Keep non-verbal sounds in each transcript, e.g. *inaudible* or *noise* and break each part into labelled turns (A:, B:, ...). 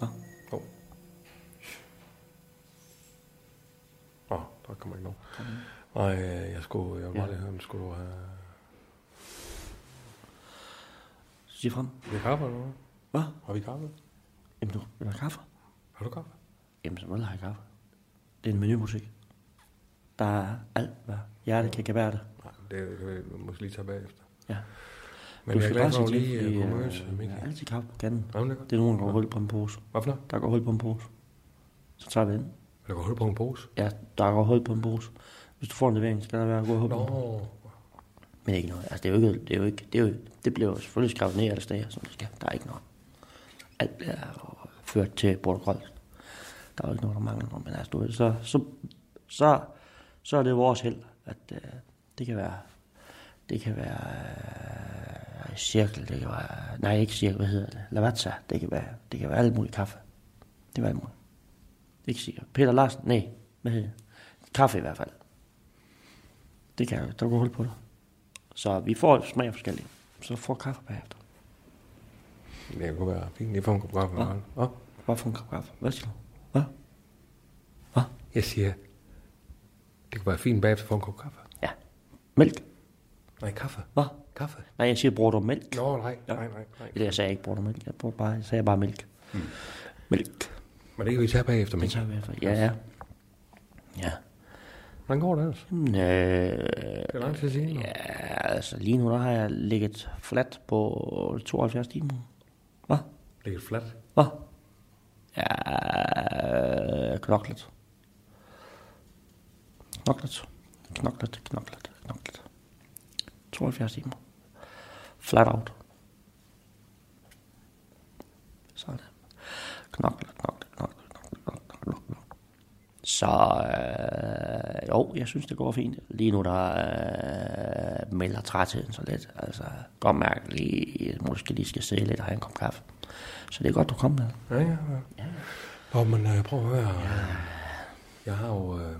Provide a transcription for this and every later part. A: Hov. Åh, oh, der kommer ikke nogen. Nej, øh, jeg skulle, jeg var
B: Ja.
A: ja. lige høre, om skulle du have
B: Sig frem.
A: vi kaffe eller noget?
B: Hvad?
A: Har vi kaffe?
B: Jamen, du vil du have kaffe?
A: Har du kaffe?
B: Jamen, så må jeg have kaffe. Det er en menubutik. Der er alt, hvad hjertet kan gebære det.
A: Nej, det kan vi måske lige tage bagefter.
B: Ja.
A: Men jeg er glad for, at du lige
B: fordi,
A: øh, kunne
B: øh,
A: mødes,
B: Der er
A: Mikkel.
B: altid kaffe på kanden.
A: Jamen, det er godt.
B: Det er nogen, der går hul på en pose.
A: Hvad for noget?
B: Der går hul på en pose. Så tager vi ind.
A: Vil du gå hul på en pose?
B: Ja, der går hul på en pose. Hvis du får en levering, skal der være gå hul på
A: Nå,
B: en pose. Men ikke noget. Altså, det er jo ikke... Det, er jo ikke, det, er jo, det bliver jo selvfølgelig skrevet ned alle steder, som det skal. Der er ikke noget. Alt er jo ført til protokol. Der er jo ikke noget, der mangler noget. Men altså, du ved, så, så, så, så er det vores held, at øh, det kan være... Det kan være øh, cirkel, det kan være... Nej, ikke cirkel, hvad hedder det? Lavazza, det kan være, det kan være alt muligt kaffe. Det kan være alt muligt. Ikke cirkel. Peter Larsen, nej, hvad hedder det? Kaffe i hvert fald. Det kan jeg jo. Der går hul på det. Så vi får smag af forskellige. Så får kaffe bagefter.
A: det kunne være fint. Jeg får en kop kaffe.
B: Hvad?
A: Hvad? Hvad?
B: Hvad for en kop kaffe? Hvad siger du? Hvad? Hvad?
A: Jeg siger, det kunne være fint bagefter at få en kop kaffe.
B: Ja. Mælk?
A: Nej, kaffe.
B: Hvad?
A: Kaffe.
B: Nej, jeg siger, bruger du mælk?
A: Nå, nej,
B: Ja.
A: nej, nej, nej.
B: Eller jeg sagde ikke, bruger du mælk? Jeg, bruger bare, jeg sagde bare mælk. Mm. Mælk.
A: Men det kan vi tage bagefter,
B: Det
A: Mikkel.
B: tager vi efter. Ja, ja. Ja.
A: Hvordan går det ellers?
B: Jamen, øh,
A: Det er lang tid siden. nu.
B: ja, altså lige nu, der har jeg ligget flat på 72 timer. Hvad?
A: Det er fladt.
B: Hvad? Ja, knoklet. Knoklet. Knoklet, knoklet, knoklet. 72 timer. Flat out. Sådan. Knoklet, knoklet, knoklet, knoklet, knoklet, knoklet. Så øh, jo, jeg synes, det går fint. Lige nu, der øh, melder trætheden så lidt. Altså, godt mærke lige, måske lige skal sidde lidt og have en kop kaffe. Så det er godt, du kom med.
A: Ja, ja, ja. Nå, men øh, prøv at høre. øh, Jeg har jo... Øh,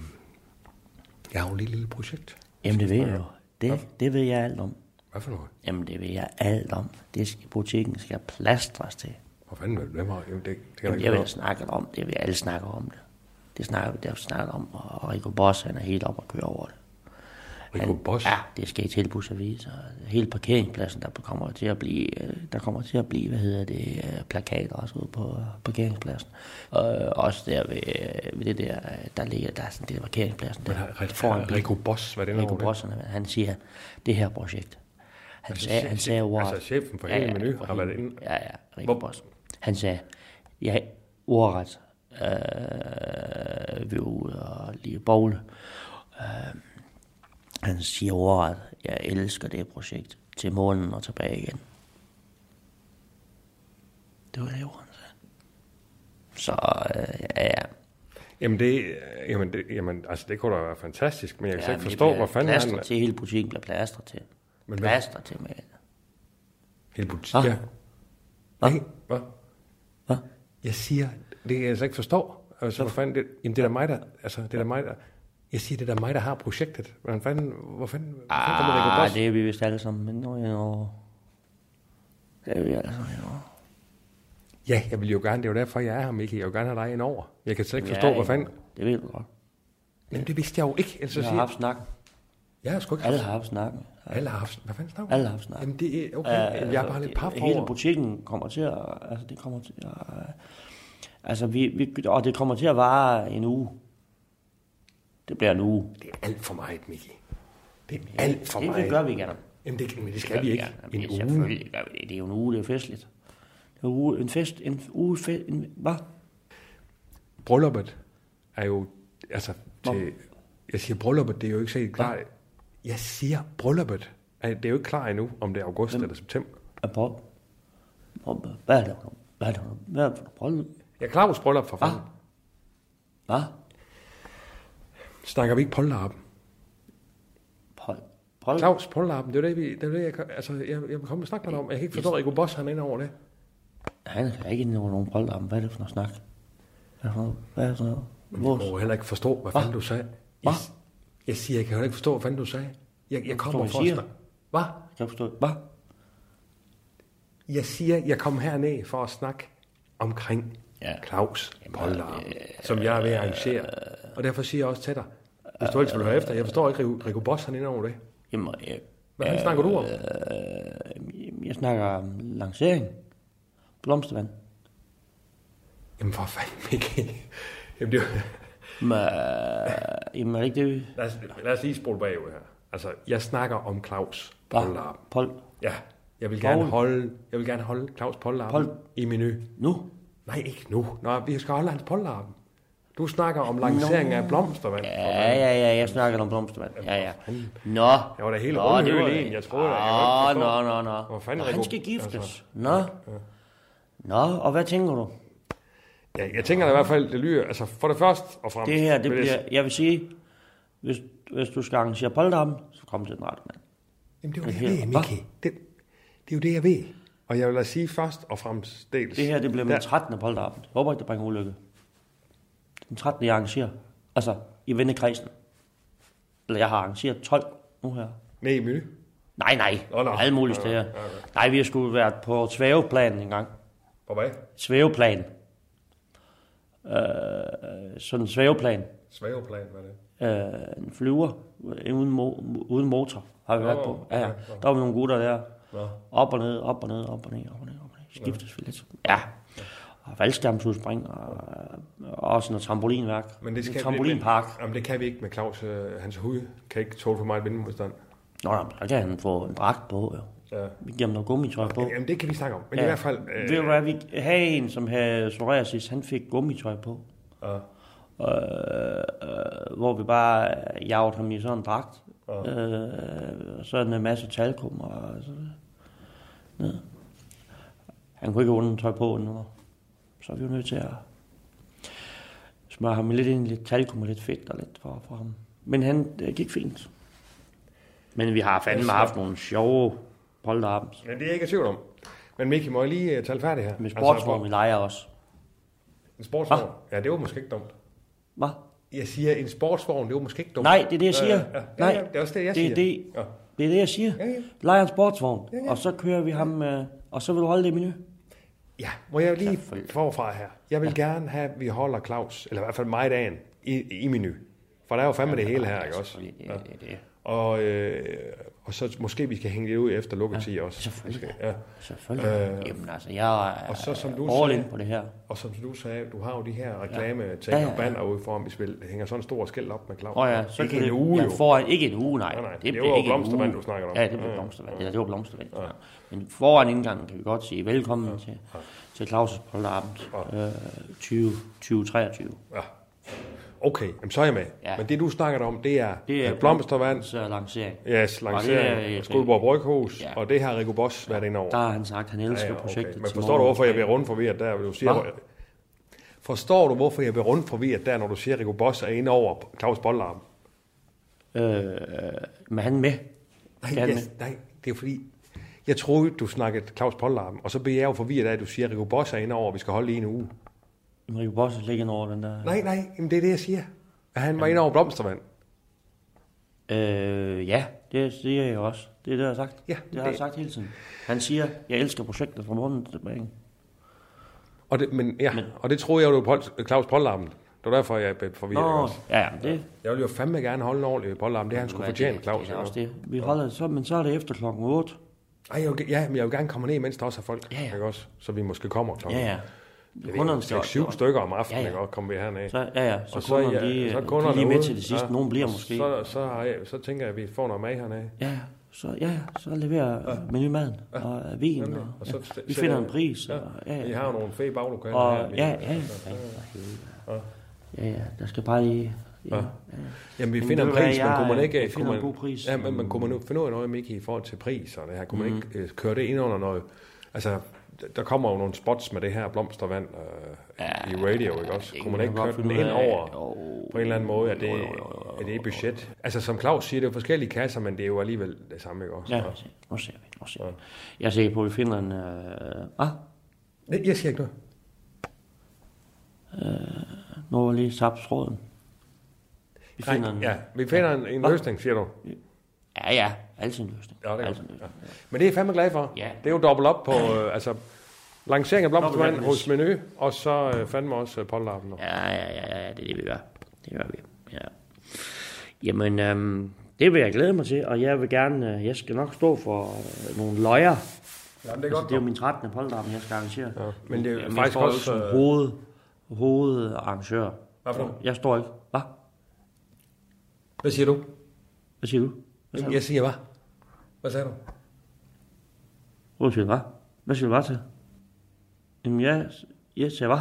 A: jeg har jo et lille, lille projekt.
B: Jamen, det ved jeg jo. Det, det ved jeg alt om.
A: Hvad for noget?
B: Jamen, det ved jeg alt om. Det skal, butikken skal plastres til.
A: Hvad fanden vil hvem har... Jamen, det, det kan jeg
B: Jamen,
A: ikke
B: jeg vil
A: ved.
B: snakke om det. Vi alle snakker om det. Det snakker vi der snakker om, og Rico Boss, han er helt op og kører over det.
A: Rico Boss?
B: Ja, det skal i tilbudsavis, og hele parkeringspladsen, der kommer til at blive, øh, der kommer til at blive, hvad hedder det, øh, plakater også ude på øh, parkeringspladsen. Og øh, også der ved, øh, ved det der, øh, der ligger, der er sådan det der parkeringspladsen, der,
A: Har-
B: der får en
A: har- Rico Boss, hvad er det
B: Rico
A: nu?
B: Bosserne, han siger, det her projekt. Han altså, sagde, han
A: chef-
B: sagde ordret.
A: altså, chefen for hele Meny
B: for
A: har
B: hele-
A: været inde.
B: Ja, ja, Rico
A: Hvor-
B: Boss. Han sagde, ja, ordret, øh, vi er ude og lige bogle. Øh, han siger ordret, jeg elsker det projekt, til månen og tilbage igen. Det var det, ordret han sagde. Så, øh,
A: Altså,
B: ja, ja.
A: Jamen, det, øh, jamen, det, jamen, altså, det kunne da være fantastisk, men jeg kan
B: Ja,
A: ja, ikke
B: men det
A: forstå,
B: bliver
A: hvor fanden
B: plastret
A: han...
B: til, hele butikken bliver plastret til.
A: Men hvad-
B: plaster til med.
A: Hele butik,
B: Hva?
A: ja.
B: Hva?
A: Nej, hvad?
B: Hvad?
A: Jeg siger, det kan jeg altså ikke forstå. Altså, hvor fanden, det, jamen, det er da mig, der... Altså, det er da mig, der... Jeg siger, det er da mig, der har projektet. Hvordan fanden... Hvor fanden... Hvor fanden kommer Rico
B: Ah,
A: Boss?
B: det er vi vist alle sammen, men nu er jeg jo... Det er vi alle sammen, jo.
A: Ja, jeg vil jo gerne, det er jo derfor, jeg er her, Mikkel. Jeg vil gerne have dig ind over. Jeg kan slet ikke forstå,
B: Ja,
A: ja, hvad fanden...
B: Det ved du godt.
A: Jamen, det vidste jeg jo ikke. Ellers så
B: Vi har
A: siger
B: haft
A: jeg...
B: snakken.
A: Jeg har sgu ikke...
B: Alle har haft snakken.
A: Alle har haft... Hvad fanden snakker du om?
B: Alle har haft snakken.
A: Jamen, det er... Okay,
B: Øh,
A: jeg er
B: altså,
A: bare lidt
B: det-
A: paf
B: Hele
A: over...
B: butikken kommer til at... Altså, det kommer til at... øh, Altså, vi, vi, og det kommer til at vare en uge. Det bliver en uge.
A: Det er alt for meget, Mikkel. Det er alt for
B: det,
A: meget.
B: det gør vi gerne.
A: Jamen, det, men det
B: gør
A: skal vi ikke.
B: gerne. Jamen,
A: En
B: det-
A: uge.
B: Selvfølgelig gør vi det. Det er jo en uge, det er festligt. Det er en uge, en fest, en uge, fe, en, hvad?
A: Brylluppet er jo... Altså, til... Jeg siger brylluppet, det er jo ikke set klart Jeg siger brylluppet. Altså, Det er jo ikke klar endnu, om det er august eller september.
B: af Paul. Og Hvad er det for noget? Hvad er det for noget? Hvad er det for noget? bryllup?
A: Jeg er Claus bryllup for fanden.
B: Ah. Hvad?
A: Snakker vi ikke polterappen?
B: Paul. Paul.
A: Claus polterappen, det er jo det, vi, det, er jo det jeg, kan- altså, jeg, jeg vil komme og snakke med dig om. Jeg kan ikke forstå, at Rico Boss han er inde over det.
B: Han er ikke inde over nogen polterappen. Hvad er det for noget snak? Hvad er det for noget? Hvad er det for noget?
A: Jeg
B: Vores.
A: må heller ikke forstå, hvad fanden du sagde. Jeg,
B: Hva?
A: jeg siger, jeg kan heller ikke forstå, hvad fanden du sagde. Jeg, jeg kommer for
B: forstår,
A: at
B: hvad I siger.
A: snakke. Hvad?
B: Kan jeg forstå? Hvad?
A: Jeg siger, jeg kom herned for at snakke omkring
B: Ja. øh,
A: Claus polterappen, som jeg er ved at arrangere. Og derfor siger jeg også til dig, hvis du ellers vil høre efter, jeg forstår ikke, Rico- Rico Boss han er inde over det.
B: Jamen, øh, jeg,
A: Hvad fanden snakker du om?
B: øh. jeg, jeg snakker om lancering. Blomstervand.
A: Jamen for fanden, Mikkel. Jamen, det er jo-
B: Men, øh, jamen, er det ikke det, vi...
A: lad, os, lad os lige spole bagud her. Altså, jeg snakker om Claus
B: Hvad?
A: polterappen.
B: Pol.
A: Ja, jeg vil gerne
B: Poul.
A: holde, jeg vil gerne holde Claus polterappen
B: Poul.
A: i menu.
B: Nu?
A: Nej, ikke nu. Nå, vi skal holde hans polterappen. Du snakker om lancering af blomster, mand.
B: Ja, ja, ja, jeg snakker om blomstervand. Ja, ja. Nå.
A: Jeg var da helt
B: Nå,
A: rundhøl
B: det var
A: i
B: det.
A: en. Jeg troede, jeg kunne
B: Åh,
A: ikke
B: nå,
A: forstå.
B: nå, nå.
A: Hvor fanden
B: Nå,
A: er det
B: han
A: god-
B: skal giftes.
A: altså.
B: Nå. Nå, og hvad tænker du?
A: Ja, jeg tænker da i hvert fald, det lyder, altså for det første og fremmest.
B: Det her, det
A: vil jeg-
B: bliver, jeg vil sige, hvis, hvis du skal arrangere polterappen, så kom til den rette mand.
A: Jamen, det er jo det,
B: her-
A: jeg ved, Miki. Det, det er jo det, jeg ved. Og jeg vil da sige først og fremmest dels...
B: Det her, det bliver
A: Der-
B: min 13. polterappen. Jeg håber ikke, det bringer ulykke. Den 13. jeg arrangerer. Altså, i vennekredsen. Eller jeg har arrangeret 12 nu her.
A: Nej, menu.
B: Nej, nej.
A: Nå, nå.
B: Alle mulige
A: Nå, nå.
B: steder. Nej, vi har skulle været på svæveplan en gang.
A: På hvad?
B: svæveplan. Øh, sådan en svæveplan.
A: Svæveplan, hvad er det?
B: Øh, en flyver øh, uden, mo- uden motor har vi været på. Ja, ja.
A: okay,
B: Der var vi nogle gutter der.
A: Nå.
B: Op og ned, op og ned, op og ned, op og ned, op og ned. Skiftes vi lidt. Ja. Og valgskærmsudspring og, og også noget trampolinværk.
A: Men det skal
B: en trampolinpark.
A: Men, jamen, det kan vi ikke med Claus. Øh, hans hud kan ikke tåle for meget vindmodstand.
B: Nå, nå, men der kan han få en dragt på. Jo.
A: Ja.
B: Vi giver ham noget gummitøj på.
A: Jamen, det kan vi snakke om. Men ja. i
B: Ja.
A: hvert fald...
B: Øh... Ved du hvad, vi havde en, som havde psoriasis, han fik gummitøj på.
A: Ja.
B: Øh, øh, hvor vi bare jagede ham i sådan en dragt.
A: Ja.
B: Øh, og så en masse talkum og så ned. Han kunne ikke have tøj på endnu. Så er vi jo nødt til at smøre ham lidt ind i lidt talkum og lidt fedt og lidt for, for ham. Men han det gik fint. Men vi har fandme
A: Altså-
B: haft nogle sjove polterappen.
A: Men det er jeg ikke i tvivl om. Men Miki, må jeg lige uh, tale færdig her?
B: Med sportsvogn, vi leger også.
A: En sportsvogn? Ja, det var måske ikke dumt.
B: Hvad?
A: Jeg siger, en sportsvogn, det var måske ikke dumt.
B: Nej, det er det,
A: Ja,
B: jeg siger.
A: Ja, ja, ja,
B: Nej,
A: ja, det er også det, jeg
B: det
A: siger.
B: er det.
A: Ja.
B: Det er det, jeg siger.
A: Ja, ja.
B: Lejer en sportsvogn,
A: Ja, ja.
B: og så kører vi ham, øh, og så vil du holde det i menu.
A: ja, må jeg lige
B: Selvfølgelig.
A: forfra her? Jeg vil ja. gerne have, at vi holder Claus, eller i hvert fald mig i dagen, i, i menu. For der altså er jo fandme det hele her, ikke også?
B: Ja. Det, det,
A: Og, øh, og så måske vi skal hænge det ud efter lukketid ja. også.
B: selvfølgelig.
A: Ja.
B: Selvfølgelig. Øh, Jamen altså, jeg er
A: og så som du
B: all
A: sagde-
B: in på det her.
A: Og som du sagde, du har jo de her reklame ting ja.
B: Ja,
A: ja,
B: ja,
A: og
B: ja.
A: bander ude foran, hvis vi hænger sådan en stor skilt op med Claus.
B: Og ja, så
A: ikke
B: kan
A: en
B: det,
A: uge
B: jeg
A: jo.
B: Får, ikke en uge, nej.
A: Nej, nej, det
B: bliver
A: var jo
B: ikke en
A: blomstervand,
B: uge.
A: du snakker om.
B: Ja, det blev
A: Ja,
B: blomstervand. Ja, det var blomstervand. Ja. Men foran indgangen kan vi godt sige velkommen til, til Claus' Polterappen øh, 20 2023.
A: Ja. Okay, jamen, så er jeg med.
B: Ja.
A: Ja. Men det, du snakker om, det er,
B: Det
A: det
B: er
A: er blomstervand,
B: Så er lancering.
A: yes,
B: Og det er-
A: lancering, Skuldborg Bryghus,
B: Ja.
A: ja. og det har Rico Boss været inde over.
B: Der har han sagt, at han elsker ja, projektet.
A: Men
B: til
A: forstår du,
B: morgen.
A: hvorfor jeg bliver rundt forvirret der? Du siger,
B: Hva?
A: hvor, forstår du, hvorfor jeg bliver rundt forvirret der, når du siger, at Rico Boss er inde over Claus Bollarm?
B: Øh, men han er med. Skal
A: Nej,
B: han
A: yes, nej, det er fordi, jeg troede, du snakkede Claus Bollarm, og så bliver jeg jo forvirret af, at du siger, at Rico Boss er inde over, og vi skal holde i en uge.
B: med? Rikke Bosse ligger over den der.
A: Nej, nej, jamen, det er det, jeg siger. At han var inde over blomstervand.
B: Øh, ja, det siger jeg også. Det er det, jeg har sagt.
A: Ja,
B: det har jeg
A: det-
B: sagt hele tiden. Han siger, jeg elsker projektet fra morgenen til tilbage.
A: Og det, men, ja, men, og det troede jeg jo, det var Pol- Claus Pollarmen. Det var derfor, jeg blev forvirret.
B: Nå,
A: også.
B: ja, jamen, det...
A: Jeg ville jo fandme gerne holde en ordentlig Pollarmen. Det har han skulle fortjene, Claus.
B: Det er
A: ikke?
B: også det. Vi holder så, men så er det efter klokken 8.
A: Ej, jeg vil, ge- ja, men jeg vil gerne komme ned, mens der også er folk.
B: Ja, ja.
A: Ikke også? Så vi måske kommer klokken.
B: Ja, ja.
A: Kunderne
B: står-
A: 7 stykker om aftenen,
B: Ja, ja.
A: ikke? Og kommer vi herned.
B: Så, ja, ja,
A: Og
B: så, og kunderne,
A: ja,
B: de,
A: så
B: de
A: kunderne
B: lige med
A: ude.
B: til det sidste. Ja. Nogen bliver måske. Så...
A: Så, så, har jeg, så tænker jeg, at vi får noget mad hernede.
B: Ja, så, ja, ja, så leverer ja. menumaden og øh, vin. Og,
A: Og
B: ja.
A: så
B: Vi
A: sætter
B: finder en
A: jeg-
B: pris. Og, ja, ja.
A: Vi har jo nogle fede baglokaler
B: Og
A: her. vi-
B: ja, ja, ja, ja, ja, der skal bare lige Ja. ja.
A: Jamen, vi
B: Men
A: finder en
B: ved du hvad,
A: pris, men
B: jeg-
A: kunne man ikke...
B: jeg finder
A: kunne
B: en
A: man-
B: god pris. Mm.
A: Ja, men man kunne man nu finde ud af noget, men ikke i forhold til pris og det her. Kunne man ikke øh, køre det ind under noget... Altså, d- der kommer jo nogle spots med det her blomstervand øh, i radio, ikke også? Kunne man ikke køre den ind over på en eller anden måde? Er det, er det budget? Altså, som Claus siger, det er jo forskellige kasser, men det er jo alligevel det samme, ikke også?
B: Ja, nu ser vi, nu ser vi. Nu ser vi. Jeg er sikker på, at vi finder en... Øh, ah,
A: Nej, Jeg siger ikke noget.
B: nu var lige tabt tråden. Vi finder en...
A: Ja, vi finder en, en løsning, siger du.
B: Ja, ja. Altid en løsning.
A: Ja, det er
B: Altid en
A: godt.
B: løsning.
A: Ja. Men det er jeg fandme glad for.
B: Ja.
A: Det er jo dobbelt op på øh, altså, lancering af blomstervand
B: Dobbelt op.
A: hos Menu, og så øh, fandme også øh, polterappen. Ja.
B: Ja, ja, ja, ja, ja, det er det, vi gør. Det gør vi, ja. Jamen, øhm, det vil jeg glæde mig til, og jeg vil gerne, øh, jeg skal nok stå for øh, nogle løjer.
A: Jamen, det
B: Det er, altså, det er jo min 13. polterappen, jeg skal arrangere. Ja,
A: men det er faktisk
B: jeg står jo
A: også,
B: Som
A: øh,
B: hoved, hovedarrangør.
A: Hvad for noget?
B: Jeg står ikke. Hvad?
A: Hvad siger du?
B: Hvad siger du?
A: Jamen, jeg siger hvad? Hvad sagde du?
B: Hvad siger du, hvad? Hvad siger du, hvad til? Jamen, jeg, jeg siger, hvad?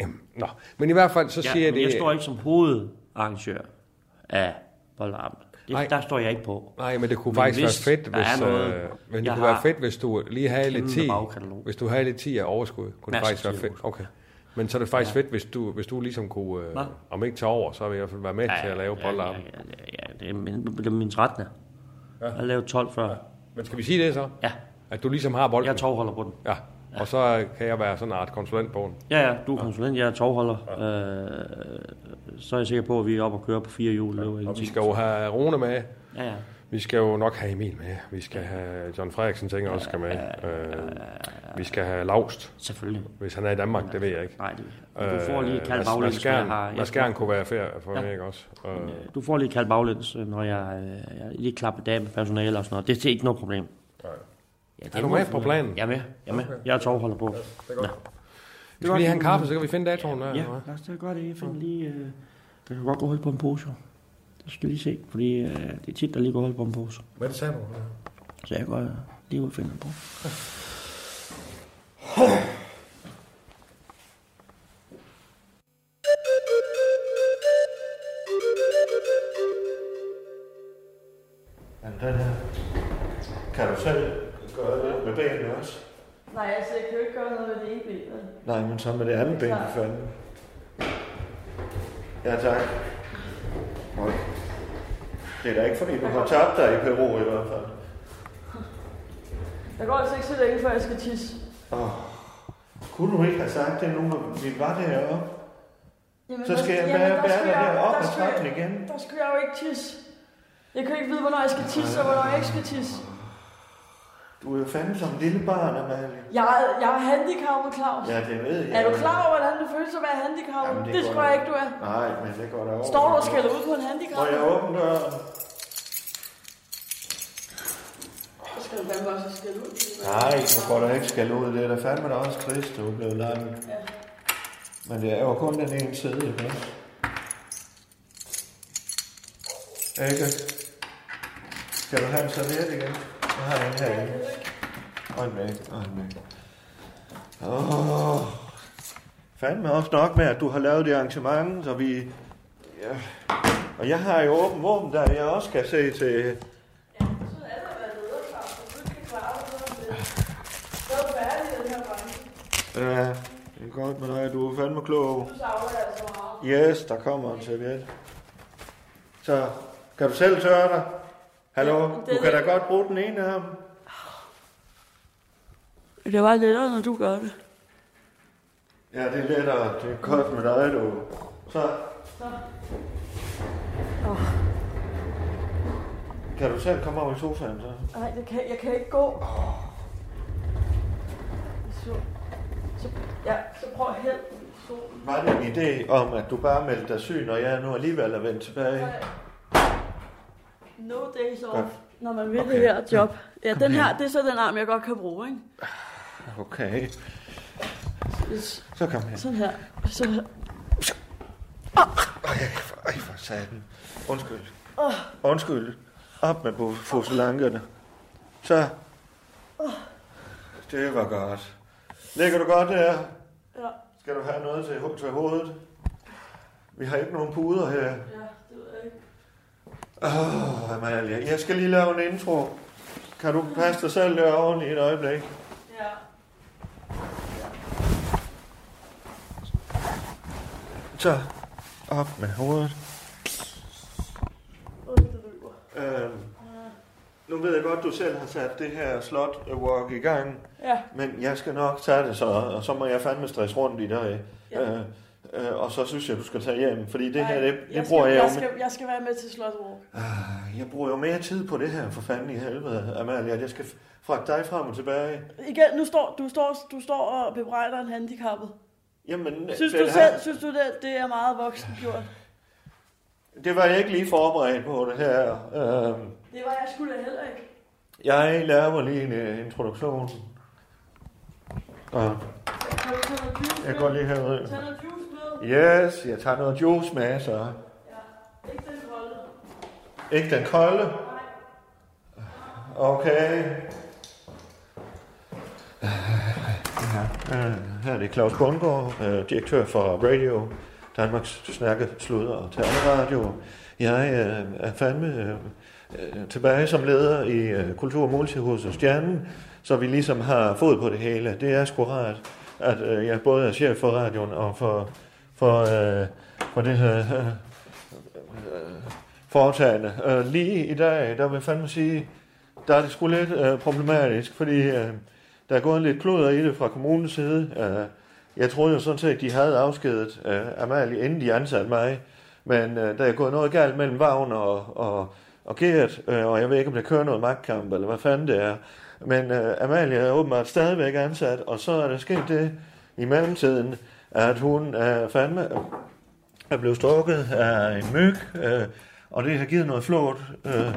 A: Jamen, nå. Men i hvert fald, så siger
B: Ja,
A: jeg
B: men
A: det...
B: jeg står ikke som hovedarrangør af polterappen.
A: Nej.
B: Det, der står jeg ikke på.
A: Nej, men det kunne
B: Men
A: faktisk
B: hvis
A: være fedt,
B: der er
A: hvis,
B: noget,
A: øh, men det
B: jeg
A: kunne være
B: har
A: fedt, hvis du lige havde lidt
B: kæmpe
A: tid.
B: bagkatalog.
A: Hvis du havde lidt tid af overskud, kunne det
B: Masser
A: faktisk
B: af
A: være
B: tid af
A: fedt. Okay. Men så er det faktisk fedt, hvis du, hvis du ligesom kunne, øh,
B: Hva?
A: om ikke tage over, så vil jeg i hvert fald være med til at lave
B: ja,
A: polterappen.
B: ja, ja, det er min, det er min 13. Ja. Jeg har lavet 12 før.
A: Men skal vi sige det så?
B: Ja,
A: At du ligesom har bolden?
B: jeg er tovholder på den.
A: Ja, og så kan jeg være sådan en art konsulent på den.
B: Ja, ja, du er konsulent, jeg er tovholder. Øh, så er jeg sikker på, at vi er oppe og køre på fire hjul. Det var
A: Og vi
B: ingenting.
A: skal jo have Rune med,
B: Ja, ja.
A: vi skal jo nok have Emil med, vi skal have John Frederiksen, tænker jeg også skal med. Øh, vi skal have Laust,
B: Selvfølgelig.
A: hvis han er i Danmark, det ved jeg ikke.
B: Nej, det Men
A: Øh,
B: du får lige et kaldt baglæns, når jeg har...
A: Mads Skjern kunne være fair for
B: Ja.
A: mig, ikke også? Øh,
B: Øh, Du får lige et kaldt baglæns, øh, når jeg, øh, jeg lige klapper af med personale og sådan noget. Det er ikke noget problem. Ja, det
A: Er du
B: må
A: med
B: jeg
A: på
B: finde ud af.
A: planen?
B: Jeg er med. Jeg er med. Jeg er tovholder på. Ja, det er godt.
A: vi skal lige have en kaffe, så kan vi finde datoen der.
B: Ja,
A: eller hvad?
B: lad os da gøre det. Jeg finder lige... Øh, der kan godt gå hul på en pose. jo. Det skal vi lige se, fordi øh, det er tit, der lige går hul på en pose.
A: Hvad sagde du?
B: Så jeg går øh, lige ud og finder en pose.
C: Men den her, kan du selv gøre det med benene også?
D: Nej, altså, jeg kan jo ikke gøre noget med det ene ben. vel?
C: Nej, men så med det andet ben for fanden. Ja, tak. Nå. Det er da ikke fordi, du har tabt dig i Peru i hvert fald.
D: Der går altså ikke så længe, før jeg skal tisse.
C: Kunne du ikke have sagt det nu, når vi var deroppe?
D: Jamen,
C: Så skal jeg
D: jamen,
C: bære,
D: der
C: bære
D: skal
C: dig
D: jeg-
C: derop
D: der
C: og
D: skal
C: trappen
D: jeg-
C: igen.
D: Der skal jeg jo ikke tisse. Jeg kan ikke vide, hvornår jeg skal tisse, og hvornår jeg ikke skal tisse.
C: Du er jo fandme som et lille barn, Amalie.
D: Jeg, er- jeg er handicappet, Claus.
C: Ja, det ved jeg.
D: Er du klar over, hvordan det føles at være handicappet?
C: Jamen, det
D: det,
C: går
D: tror jeg
C: da-
D: ikke, du er.
C: Nej, men det går da over.
D: Står du og skælder ud på en handicap?
C: Må jeg åbne døren?
D: Så skal du fandme også skælde ud.
C: Nej, du går da ikke skal ud. Det er da fandme da også trist, du er blevet langt.
D: Ja.
C: Men det er jo kun den ene side, ikke? Ikke? Skal du have en serviet igen? Jeg har en herinde. Og en væk, og en væk. Åh. Fandme også nok med, at du har lavet det arrangement, så vi... Ja. Og jeg har jo åben våben, der jeg også kan se til...
D: Ja, sådan er det at være leder, Claus. Du skal klare dig, så er det. Så er du færdig i den her branche.
C: Ja, det er godt med dig. Du er fandme klog.
D: Du savner jeg altså meget.
C: Yes, der kommer en serviet. Så kan du selv tørre dig? Hallo?
D: Ja, det-
C: du kan da godt bruge den ene af ham.
D: Det var lettere, når du gør det.
C: Ja, det er lettere. Det er godt med dig, du. Så. Kan du selv komme over i sofaen, så?
D: Nej, det kan, jeg kan ikke gå. Så, så, ja, så prøv at hælde den i solen.
C: Var det en idé om, at du bare meldte dig syg, når jeg nu alligevel er vendt tilbage?
D: No days off,
C: Godt.
D: når man vil
C: Okay.
D: det her job. Ja, den her, det er så den arm, jeg godt kan bruge, ikke?
C: Okay,
D: Yes,
C: så kom her.
D: Sådan her. Så,
C: Ej, for satan. Undskyld. Undskyld. Op med bu- fuselankerne. Så. Det var godt. Ligger du godt der?
D: ja.
C: Skal du have noget til, ho- til hovedet? Vi har ikke nogen puder her.
D: Ja, det ved jeg ikke.
C: Åh, Amalie, jeg skal lige lave en intro. Kan du passe dig selv derovre i et øjeblik?
D: Ja.
C: Så, op med hovedet.
D: Åh, det løber.
C: Øhm, nu ved jeg godt, du selv har sat det her slot øh, walk i gang,
D: Ja,
C: men jeg skal nok tage det så, og så må jeg fandme stress rundt i dig. Ja. Øh, øh, og så synes jeg, du skal tage hjem, fordi det her,
D: ej,
C: det,
D: jeg
C: det
D: skal-
C: bruger jeg, jo
D: jeg,
C: me-
D: skal, jeg skal være med til Slotsbro.
C: Ah, jeg bruger jo mere tid på det her, for fanden i helvede, Amalie. Jeg skal f- fragte dig frem og tilbage.
D: Igen, nu står, du, står, du står og bebrejder en handicappet.
C: Jamen,
D: Synes
C: den
D: du
C: her-
D: selv, synes du det, det er meget voksen gjort?
C: Det var jeg ikke lige forberedt på, det her. Øhm,
D: Det var jeg skulle heller ikke.
C: jeg laver mig lige en øh, introduktion. Og
D: Kan du tage noget juice
C: jeg
D: med?
C: går lige herud.
D: Tag noget juice med.
C: Yes, jeg tager noget juice med, så.
D: Ja, ikke den kolde.
C: Ikke den kolde. Okay. Ja, øh, Her er det Claus Bundgaard, øh, direktør for Radio, Danmarks Snakke, Sludder og Taleradio. Jeg øh, er fandme øh, øh, tilbage som leder i øh, Kultur- og Multihus og Stjernen, så vi ligesom har fod på det hele. Det er sgu rart, at øh, jeg både er chef for radioen og for, for, øh, for det her øh, øh, foretagende. Øh, lige i dag, der vil jeg fandme sige, der er det sgu lidt øh, problematisk, fordi øh, der er gået lidt kluder i det fra kommunens side. Øh, jeg troede jo sådan set, de havde afskedet øh, Amalie, inden de ansatte mig. Men øh, der er gået noget galt mellem Vagn og, og, og Gert, øh, og jeg ved ikke, om det kører noget magtkamp, eller hvad fanden det er. Men øh, Amalie er åbenbart stadigvæk ansat, og så er der sket det i mellemtiden, at hun er fandme er blevet stukket af en myg, øh, og det har givet noget flot øh,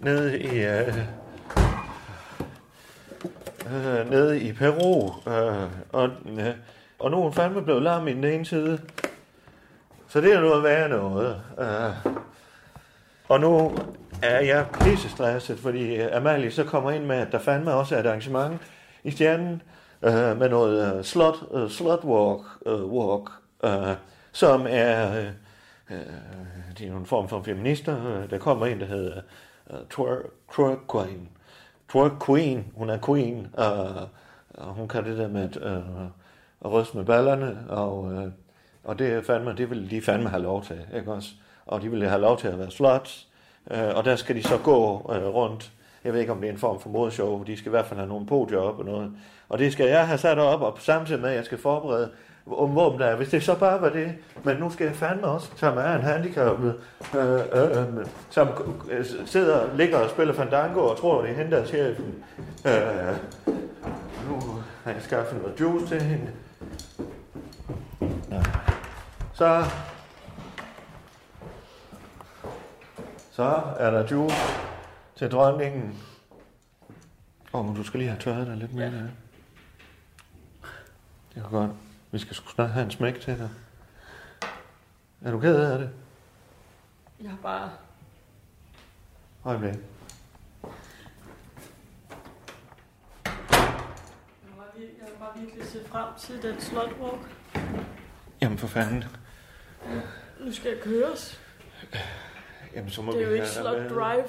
C: nede i... Øh, øh, nede i Peru, øh, og, øh, og nu er hun fandme blevet lam i den ene side. Så det er noget værre noget. Øh. Og nu er jeg pissestresset, fordi øh, Amalie så kommer ind med, at der fandme også er et arrangement i stjernen øh, med noget øh, slot, øh, slot walk, øh, walk øh, som er... Øh, øh, det er jo en form for feminister. Øh, Der kommer en, der hedder øh, Twerk Twerk Queen. Twerk Queen. Hun er queen. Øh, og hun kan det der med at, øh, at ryste med ballerne. Og, øh, og det, er fandme, det vil de fandme have lov til. Ikke også? Og de vil have lov til at være slots. Øh, og der skal de så gå øh, rundt. Jeg ved ikke, om det er en form for modeshow. De skal i hvert fald have nogle podier op og noget. Og det skal jeg have sat op, og samtidig med, at jeg skal forberede om våben der er. Hvis det så bare var det, men nu skal jeg fandme også tage mig af en handicappet, øh, øh, øh, som øh, sidder og ligger og spiller fandango og tror, det er hende, der er chefen. Øh, nu har jeg skaffet noget juice til hende. Nå. Så... Så er der juice til dronningen. Åh, oh, men du skal lige have tørret dig lidt mere. Ja. Det er godt. Vi skal sgu snart have en smæk til dig. Er du ked af det?
D: Jeg har bare...
C: Øjeblik.
D: Jeg var, vir- jeg var virkelig set frem til den slotswalk.
C: Jamen for fanden.
D: Nu skal jeg køres.
C: Jamen så må
D: Det
C: vi
D: er jo ikke
C: have
D: slot
C: dig med.
D: drive.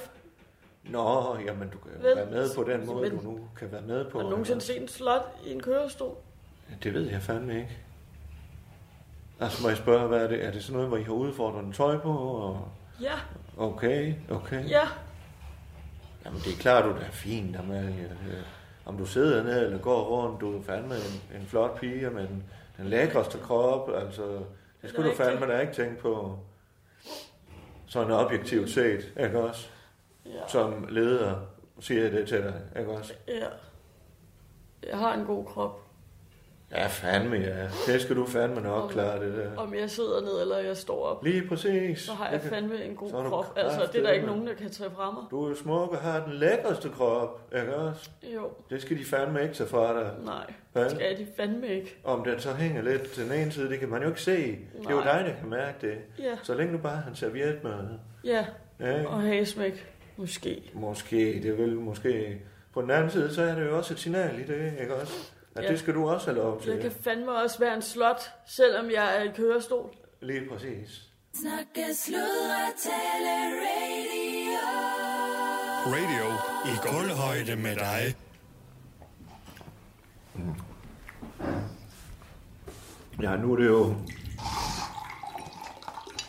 C: Nå, jamen du kan jo
D: Vel, Altså,
C: være med på den måde,
D: men-
C: du nu kan være med på. altså.
D: Har du nogensinde set en slot i en kørestol?
C: Det ved jeg fandme ikke. Altså må jeg spørge, hvad er det? Er det sådan noget, hvor I har udfordrende tøj på? Og...
D: Ja,
C: Okay, okay.
D: ja.
C: Jamen det er klart, du er fint, Amalie. Øh, Om du sidder ned eller går rundt, du er fandme en, en flot pige med den, den lækreste krop. Altså, det skulle du
D: rigtigt.
C: fandme da ikke tænke på. Sådan objektivt set, ikke også?
D: Ja.
C: Som leder siger jeg det til dig, ikke også?
D: ja. Jeg har en god krop.
C: Ja, fandme ja. Det skal du fandme nok klare, det der.
D: Om jeg sidder ned eller jeg står op,
C: Lige præcis.
D: så har
C: Det
D: jeg
C: kan-
D: fandme en god
C: Så er du
D: krop. Altså, det er der
C: kraftedeme.
D: ikke nogen, der kan tage fra mig.
C: Du er jo smuk og har den lækreste krop, ikke også?
D: Jo,
C: Det skal de fandme ikke tage fra dig.
D: nej.
C: Hvad?
D: Det skal de fandme ikke.
C: Om den så hænger lidt til den ene side, det kan man jo ikke se. Det er jo
D: Nej.
C: dig, der kan mærke det.
D: Ja,
C: Så længe du bare har en serviet med.
D: ja.
C: Ja, ikke?
D: Og hagesmæk. Måske.
C: Måske, det vil måske. På den anden side, så er det jo også et signal i det, ikke også? At
D: Ja.
C: det skal du også have lov til.
D: Jeg kan fandme også være en slot, selvom jeg er i kørestol.
C: Lige præcis.
E: Snakke, sludre, tale, radio.
F: Radio i gulvhøjde med dig.
C: Ja, nu er det jo...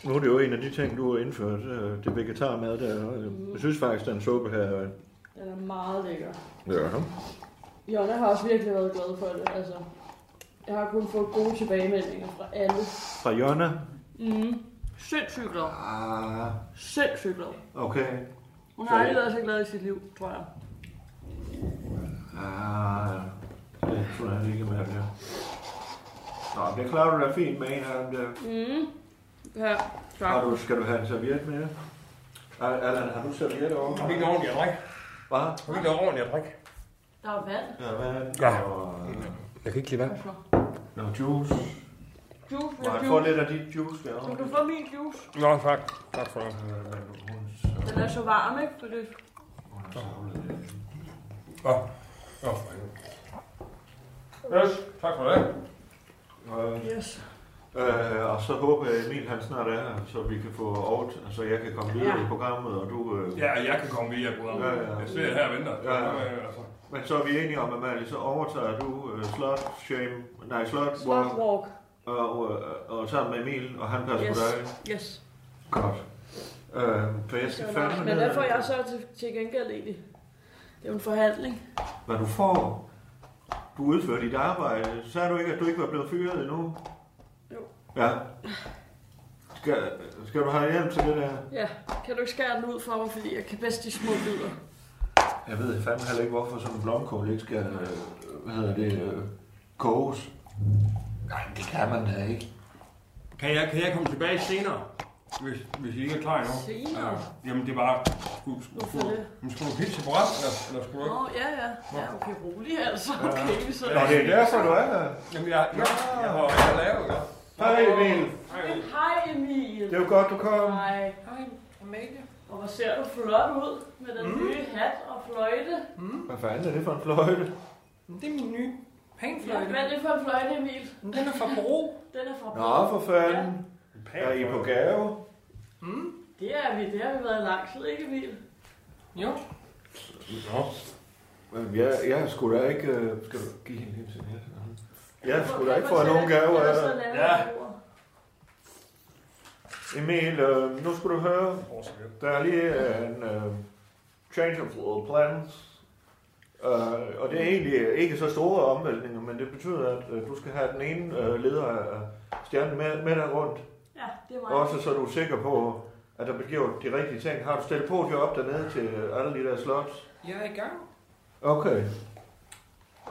C: Nu er det jo en af de ting, du har indført, øh, det vegetarmad der. og Jeg synes faktisk, den suppe her... øh,
D: Den er meget lækker.
C: Ja.
D: Jonna har også virkelig været glad for det, altså. Jeg har kun fået gode tilbagemeldinger fra alle.
C: Fra Jonna.
D: Mm. Sindssygt glad.
C: Ah,
D: Sindssygt glad.
C: okay.
D: Hun har aldrig været så glad i sit liv, tror jeg.
C: Ah, det tror jeg ikke med, ja. Nå, det klarer du da fint med en af dem der.
D: Mm. Ja, tak.
C: Har du, skal du have en serviet med? Al- Allan, har du serviet over?
A: Har vi ikke ordentligt at drikke?
C: Hvad?
A: Har vi ikke ordentligt at drikke?
D: Der er vand.
C: Ja, hvad?
A: Ja.
C: Og,
A: Jeg kan ikke lide vand.
D: Altså.
C: Nå, juice.
D: Juice,
C: Må jeg få
D: juice.
C: lidt af dit juice
D: Du
C: derovre?
D: kan få min juice.
A: Nå, tak. Tak for det.
C: øh,
D: Den er så varm, ikke? For det
A: Åh, oh, for helvede. Yes, tak for det.
C: Øh,
D: yes.
C: Øh, og så håber jeg, Emil han snart er her, så vi kan få over, så jeg kan komme videre
D: Ja.
C: i programmet, og du... Øh,
A: Ja, jeg kan komme via programmet.
C: Ja, ja.
A: Jeg sidder her og venter.
C: Ja, ja.
A: Øh, altså.
C: Men så er vi enige om, at Malie, så overtager du øh, slot, shame, nej, slot,
D: Slot
C: slot.
D: walk.
C: Og, øh, og sammen med Emil, og han passer yes.
D: Yes.
C: på dig.
D: Yes.
C: Godt. Øh, for jeg skal fandme
D: Men
C: ned-
D: hvad får jeg så til, til gengæld egentlig? Det er jo en forhandling.
C: Hvad du får? Du udfører dit arbejde. Sagde du ikke, at du ikke var blevet fyret endnu?
D: Jo.
C: Ja. Skal, skal du have hjælp til det der?
D: Ja, kan du ikke skære den ud for mig, fordi jeg kan bedst de små bidder.
C: Jeg ved fandme heller ikke, hvorfor sådan en blomkål ikke skal, øh, hvad hedder det, øh, koges. Nej, det kan man da ikke.
A: Kan jeg, kan jeg komme tilbage senere, hvis, hvis I ikke er klar endnu?
D: Senere?
A: Ja, jamen, det er bare... Skulle, skulle,
D: Hvorfor det?
A: Men skulle du hilse på os, eller, eller skulle du
D: Nå,
A: ikke?
D: ja, ja. Ja, okay, rolig altså. Okay, så...
C: Nå, det er derfor, du er her.
A: Jamen, jeg, jeg, jeg har jeg har lavet, ja.
C: Hej Emil.
D: Hej Emil.
C: Det var godt, du kom.
D: Hej.
A: Hej, Amalie.
D: Og hvor ser du flot ud med
C: Mm.
D: den nye hat og fløjte.
C: Hvad fanden er det for en fløjte?
A: Det er min nye
D: Ja, hvad er det for en fløjte, Emil?
A: Den er fra Bro.
D: Den er fra
C: Nå, for fanden. Er I på gave?
D: Det er vi. Det har vi været i lang tid, ikke Emil?
A: Jo. Nå.
C: Jamen, jeg, jeg skulle da ikke... Øh, skal du give hende lidt til Jeg skulle da ikke få nogen gave af dig.
D: Ja.
C: Emil, øh, nu skal du høre. Der er lige øh, en øh, change of plans. Øh, og det er egentlig ikke så store omvæltninger, men det betyder, at øh, du skal have den ene øh, leder af stjernen med, med dig rundt.
D: Ja, det er mig.
C: Også så du er sikker på, at der bliver gjort de rigtige ting. Har du stillet på op dernede til øh, alle de der slots?
G: Jeg er i gang.
C: Okay.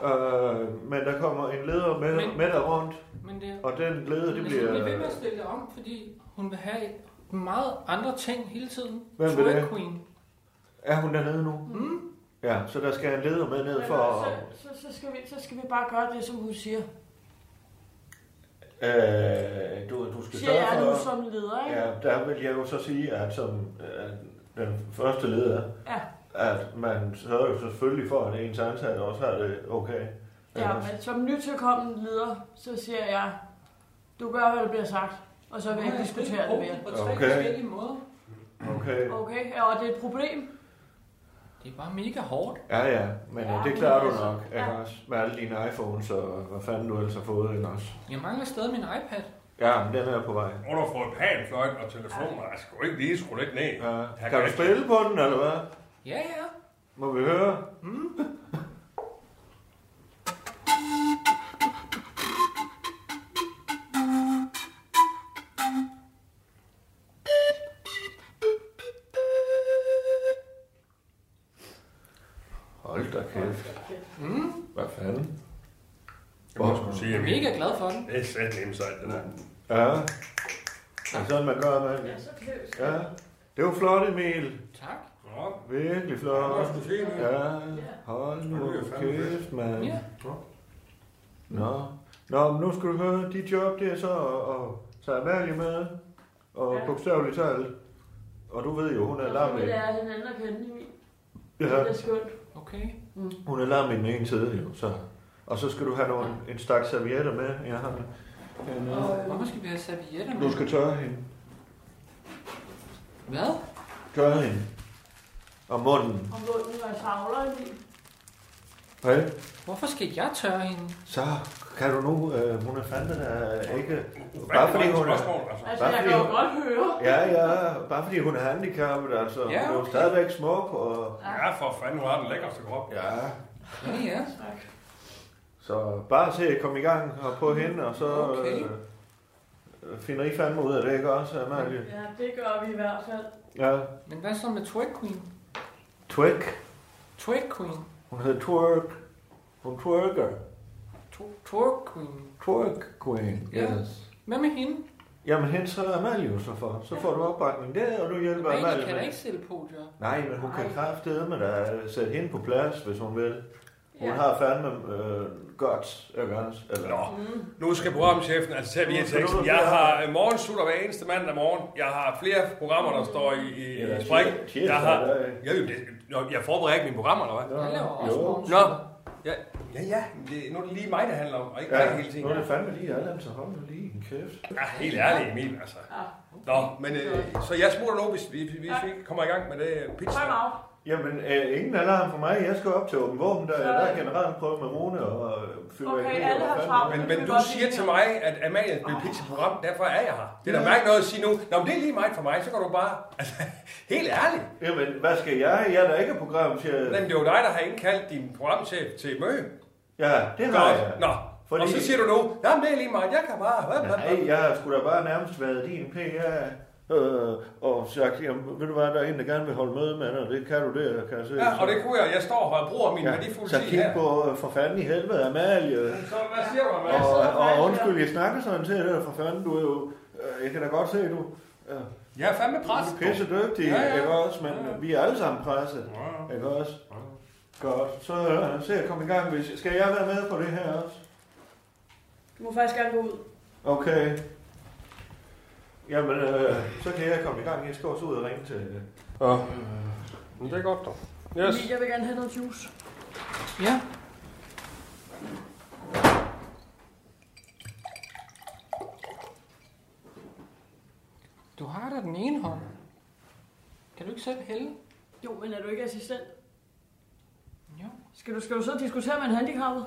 C: Øh, men der kommer en leder med,
G: Men-
C: med dig rundt,
G: Men det,
C: og den leder, det
G: men bliver...
C: bliver...
G: hun bliver ved med at stille det om, fordi hun vil have meget andre ting hele tiden.
C: Hvem vil
G: Drag
C: det?
G: Queen.
C: Er hun dernede nu?
G: Mm.
C: Ja, så der skal en leder med ned
D: Men,
C: for...
D: øh, så, så, så, skal vi, så skal vi bare gøre det, som hun siger.
C: Øh, du, du skal
D: Siger
C: sørge
D: jeg nu
C: for...
D: som leder, ikke?
C: Ja, der vil jeg jo så sige, at som øh, den første leder,
D: Ja.
C: at man sørger jo selvfølgelig for, at ens ansatte også har det okay.
D: Ja, men som nytilkommen leder, så siger jeg, du gør, hvad der bliver sagt, og så vil jeg ikke diskutere det mere.
G: På tre
C: Okay.
G: forskellige måder.
C: Okay.
D: Okay, ja, og det er et problem.
G: Det er bare mega hårdt.
C: Ja, ja, men
D: Ja,
C: ja, det
D: men
C: klarer du
D: altså,
C: nok, ikke
D: ja.
C: også? Med alle dine iPhones og hvad fanden du ellers har fået, ikke også?
G: Jeg mangler stadig min iPad.
C: Ja, men den er på vej.
A: Og du har fået panfløjt og telefoner. Jeg skal jo ikke lige skrue lidt ned.
C: Ja.
A: kan
C: Kan du
A: jeg-
C: spille på den, eller hvad?
G: Ja, ja.
C: Må vi høre? Hmm? Hold da kæft. Hvad fanden?
A: Hvor jeg skulle sige,
G: Jeg
A: at
G: er
A: vi-
G: mega glad for den.
A: det er sandt nemt sejt, det der.
C: Ja. Det er sådan, man gør, man.
D: Ja, så kløs.
C: Ja. Det var flot, Emil.
G: Tak.
A: Nå,
C: Virkelig
A: jeg
C: flot.
A: skulle sige det.
C: Ja, hold nu
A: Det er fandme
C: kæft, mand.
G: Ja.
C: Nå. Nå, men nu skal du høre, dit job det er så at, at tage Amalie med, og
D: Ja.
C: ja. bogstaveligt talt. Og du ved jo, hun er
D: Så
C: larm i,
D: vil lære hinanden at kende, Emil.
C: ja,
D: Det er skønt.
G: Okay.
C: hun er larm i den ene side jo, så. Og så skal du have nogle, en stak servietter med, jeg har det. hernede.
G: Hvorfor skal vi have servietter
C: Du
G: med?
C: skal tørre hende.
G: Hvad?
C: Tørre hende. Og munden.
D: Om munden var savler i.
C: Hvad?
G: Hvorfor skal jeg tørre hende?
C: Så kan du nu, øh, hun er fandme der ikke... Bare fordi hun er...
D: Altså,
C: Hvad
D: jeg
C: for
D: kan jo
C: en?
D: godt høre.
C: Ja, ja, bare fordi hun er handicappet, altså.
G: Ja,
C: Hun er jo
G: okay.
C: stadigvæk smuk, og...
A: Ja, for fanden, hun har den lækkerste krop.
C: Ja.
G: Ja, ja.
C: Så bare se at komme i gang og på hende, og så
G: Okay.
C: okay. øh, finder I fandme ud af det, ikke også, Amalie?
D: Ja, det gør vi i hvert fald.
C: Ja.
G: Men hvad så med twerk queen?
C: Twerk.
G: Twerk queen?
C: Hun hedder Twerk. Hun twerker.
G: Tw- Twerk queen?
C: Twerk Queen.
G: Ja.
C: Yes.
G: Hvad med hende?
C: Jamen, hende så Amalie jo så for. Så får du opbakning der, og du hjælper
G: Amalie
C: Amalie
G: kan da
C: med.
G: ikke sælge podier.
C: Nej, men hun kan
D: Nej.
C: kraftedeme da sætte hende på plads, hvis hun vil. Hun
D: Ja.
C: har fandme øh, godt, ikke også? Eller,
A: Nå,
D: Mm.
A: nu skal programchefen, altså tage vi
C: Nu
A: ind
C: skal du
A: teksten.
C: nu
A: Jeg
C: til at-
A: har øh, morgensutter hver eneste mandag morgen. Jeg har flere programmer, der står i, i,
C: Eller
A: i spring.
C: tirsdag- tirsdag,
A: Jeg har...
C: der er-
A: Jeg, jeg, jeg, jeg forbereder ikke mine programmer, eller hvad?
G: Jeg laver også
C: jo.
G: morgensutter.
A: Nå, ja, ja, ja. men Det, nu er det lige mig, der handler om, og ikke ja. dig hele
C: Ja, nu er
A: tiden.
C: det fandme lige alle dem, så hold nu lige en kæft.
A: Ja, helt ærlig, Emil, altså. Nå, men øh, så jeg smutter nu, hvis, hvis, hvis vi ikke kommer i gang med det øh, pizza.
D: Time out.
C: Jamen, øh, ingen alarm for mig. Jeg skal op til åben våben, der,
D: Så-
C: der er generalprøve med Rune og øh,
D: Okay,
C: fyrværkeri.
D: alle
C: og
D: har
C: fandme-
D: travlt.
A: Men, men du siger til mig, at Amalie bliver pizza program, derfor er jeg her. Det er da mærkeligt noget at sige nu. Nå, men det er lige meget for mig, så kan du bare... Altså, *laughs* helt ærligt.
C: Jamen, hvad skal jeg? Jeg er da ikke programchef.
A: Jamen, det er jo dig, der har indkaldt din programchef til møde.
C: Ja, det har jeg.
A: Godt. Nå, Altså,
C: Fordi-
A: og så siger du nu, jamen det er lige meget, jeg kan bare... Hvad, hvad,
C: Nej,
A: hvad?
C: jeg har sgu da bare nærmest været din PR øh, og sagt, jamen, ved du hvad, der er en, der gerne vil holde møde med dig, det kan du der, kan jeg se.
A: Ja, og det kunne jeg. Jeg står her og bruger min ja, værdifulde
C: så
A: tid
C: kig
A: her.
C: på øh, for fanden i helvede Amalie.
A: Så hvad siger du, Amalie?
C: Og, og
D: faktisk-
C: undskyld, jeg snakker sådan til dig, for fanden, du er jo, øh, jeg kan da godt se, du, øh,
A: Jeg er fandme
C: du
A: pres.
C: er pisse dygtig,
A: Ja, ja.
C: ikke også, men
A: Ja, ja.
C: vi er alle sammen presset,
A: Ja.
C: ikke også? Godt, så øh, se at komme i gang, hvis, skal jeg være med på det her også?
D: Du må faktisk gerne gå ud.
C: Okay. Jamen, øh, så kan jeg komme i gang. Jeg skal også ud og ringe til...
A: Ja. Men det er godt, dog. Yes.
D: Jeg vil gerne have noget juice.
G: Ja. Du har da den ene hånd. Kan du ikke selv hælde?
D: Jo, men er du ikke assistent?
G: Jo.
D: Skal du, skal du så diskutere med en handicappet?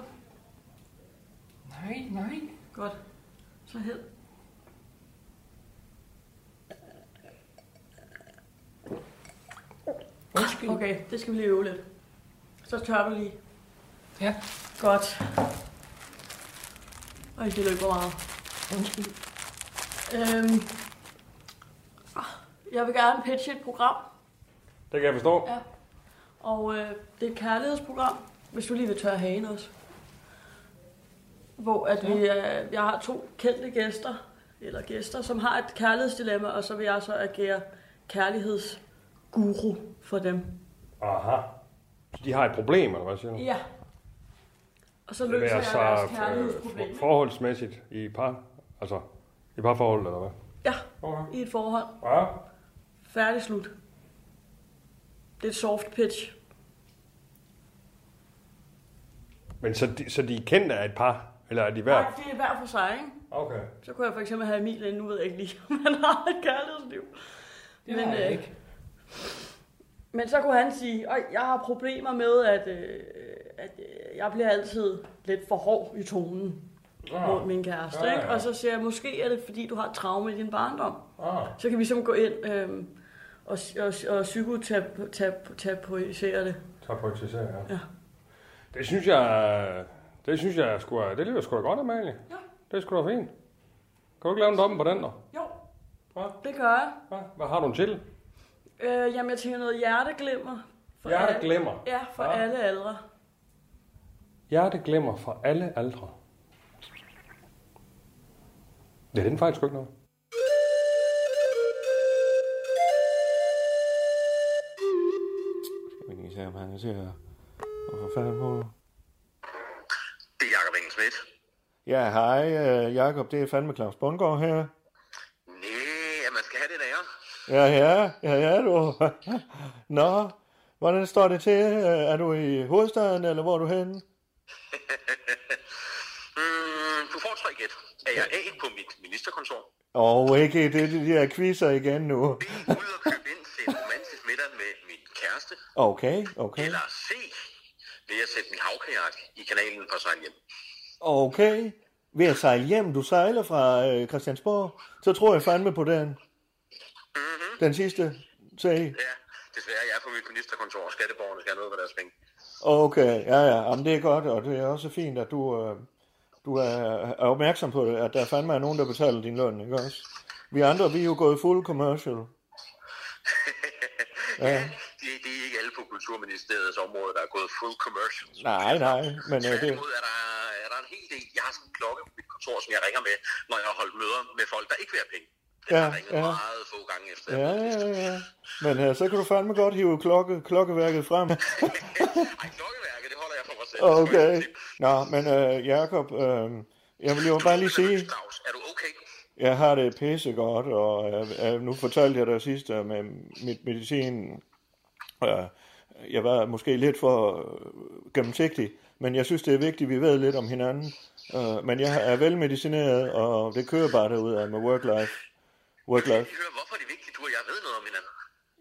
G: Nej, nej.
D: Godt. Så hed.
G: Undskyld.
D: Okay, det skal vi lige øve lidt. Så tør vi lige.
G: Ja.
D: Godt. Og det løber meget.
G: Undskyld.
D: Øhm, ah, jeg vil gerne pitche et program,
A: Det kan jeg forstå.
D: og øh, det er et kærlighedsprogram, hvis du lige vil tørre hagen også. Hvor at vi, øh, jeg har to kendte gæster, eller gæster, som har et kærlighedsdilemma, og så vil jeg så agere kærlighedsguru for dem.
A: Aha. Så de har et problem, eller hvad siger du?
D: Ja. Og så
A: Det
D: løser
A: være
D: jeg
A: så
D: deres
A: øh,
D: kærlighedsproblem.
A: for- forholdsmæssigt i par, altså i parforhold, eller hvad?
D: Ja,
A: Okay.
D: i et forhold.
A: Ja.
D: Færdig slut. Det er et soft pitch.
A: Men så de, så de er kendt af et par, eller er de hver?
D: Nej, det er hver for sig, ikke?
A: Okay.
D: Så kunne jeg for eksempel have Emil ind, nu ved jeg ikke lige, *laughs* om han har et kærlighedsliv.
G: Det har jeg
D: øh,
G: ikke.
D: Men så kunne han sige, at jeg har problemer med, at, øh, at øh, jeg bliver altid lidt for hård i tonen
A: Ah.
D: mod min kæreste.
A: Ja, ja,
D: Ikke?
A: ja.
D: Og så siger jeg, måske er det, fordi du har et traume i din barndom.
A: Ah.
D: Så kan vi simpelthen gå ind øh, og, og, og psykoterapeutiserer det.
A: Tak for eksempel, ja.
D: Ja.
A: Det synes jeg, det synes jeg sgu, er- det lyder sgu da godt, Amalie.
D: Ja.
A: Det er sgu da fint. Kan du ikke lave en domme på den der?
D: Jo,
A: Hva?
D: det gør jeg.
A: Hva? Hvad har du en til?
D: Øh, jamen, jeg tænker noget hjerteglimmer. For
A: Hjerte
D: alle-
A: glemmer.
D: Ja, for
A: Ja.
D: alle aldre.
A: Hjerte glemmer fra alle aldre. Det er den fejl sgu ikke noget.
H: Men I ser, om han kan se her. Hvorfor fanden må
I: Det er Jacob Engel Schmidt.
C: Ja, hej, øh, Jakob. Det er fandme Claus Bundgaard her.
I: Næh, ja, man skal have det der.
C: Ja, ja. Ja, ja, du. *laughs* Nå, hvordan står det til? Øh, Er du i hovedstaden, eller hvor er du henne?
I: mm, du får foretrække et. Er jeg A på mit ministerkontor?
C: Og ikke det, de her quizzer igen nu.
I: Ud og købe ind til en romantisk middag med min kæreste?
C: Okay, okay.
I: Eller C? Ved at sætte min havkajak i kanalen og sejle hjem?
C: Okay. Ved at sejle hjem, du sejler fra øh, Christiansborg, så tror jeg fandme på den. Den sidste sag.
I: Ja, desværre, jeg er på mit ministerkontor, og skatteborgerne skal have noget for deres penge.
C: Okay, ja, ja. Jamen, det er godt, og det er også fint, at du, øh, du er, er opmærksom på det, at der fandme er nogen, der betaler din løn, ikke også? Vi andre, vi er jo gået full commercial. Ja.
I: Det, det er ikke alle på Kulturministeriets område, der er gået full commercial.
C: Nej, nej, men øh, det,
I: Tværtimod er der, er der en hel del. Jeg har sådan en klokke på mit kontor, som jeg ringer med, når jeg har holdt møder med folk, der ikke vil have penge. Den
C: Ja,
I: ja, har ringet
C: ja.
I: ja. meget få gange efter.
C: ja, ja, ja. Men øh, så kan du fandme godt hive klokke, klokkeværket frem.
I: Ej, klokkeværket, det holder jeg for mig selv.
C: Okay. Nå, men øh, Jacob, øh, jeg vil jo bare lige sige,
I: Claus, er du okay?
C: jeg har det pissegodt, og øh, øh, nu fortalte jeg dig sidst øh, med mit medicin. Øh, jeg var måske lidt for øh, gennemsigtig, men jeg synes, det er vigtigt, at vi ved lidt om hinanden. Øh, men jeg er velmedicineret, og det kører bare derudad med work-life. Work-life.
I: Vi hører, hvorfor det er vigtigt, du og jeg ved noget om hinanden.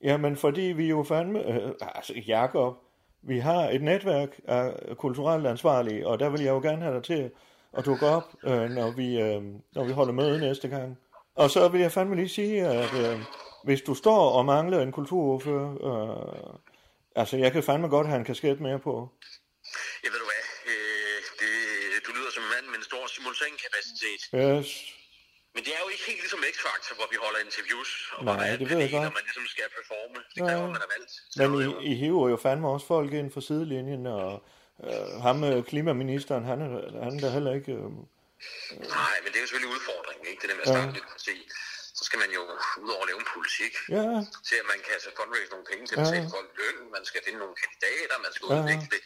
C: Jamen, fordi vi jo fandme... Øh, altså, Jakob, vi har et netværk af kulturelt ansvarlige, og der vil jeg jo gerne have dig til at dukke op, øh, når, vi, øh, når vi holder møde næste gang. Og så vil jeg fandme lige sige, at øh, hvis du står og mangler en kulturordfører... Øh, altså, jeg kan fandme godt have en kasket mere på.
I: Jeg ved du hvad, øh, det, du lyder som en mand med en stor simultankapacitet.
C: Yes.
I: Men det er jo ikke helt ligesom X-Factor, hvor vi holder interviews. Og
C: Nej,
I: hvor der er en
C: det ved jeg
I: panel,
C: godt.
I: Og man ligesom skal performe. Det
C: Nej.
I: kræver man af alt.
C: Men I, I hiver jo fandme også folk ind fra sidelinjen, og øh, ham øh, klimaministeren, han er, han er da heller ikke... Øh,
I: Nej, men det er jo selvfølgelig udfordringen, ikke? Det der med at starte ja. lidt for sent. Så skal man jo ud over at lave en politik,
C: ja,
I: til at man kan så fundraise nogle penge til at
C: Ja.
I: betale folk løn, man skal finde nogle kandidater, man skal udvikle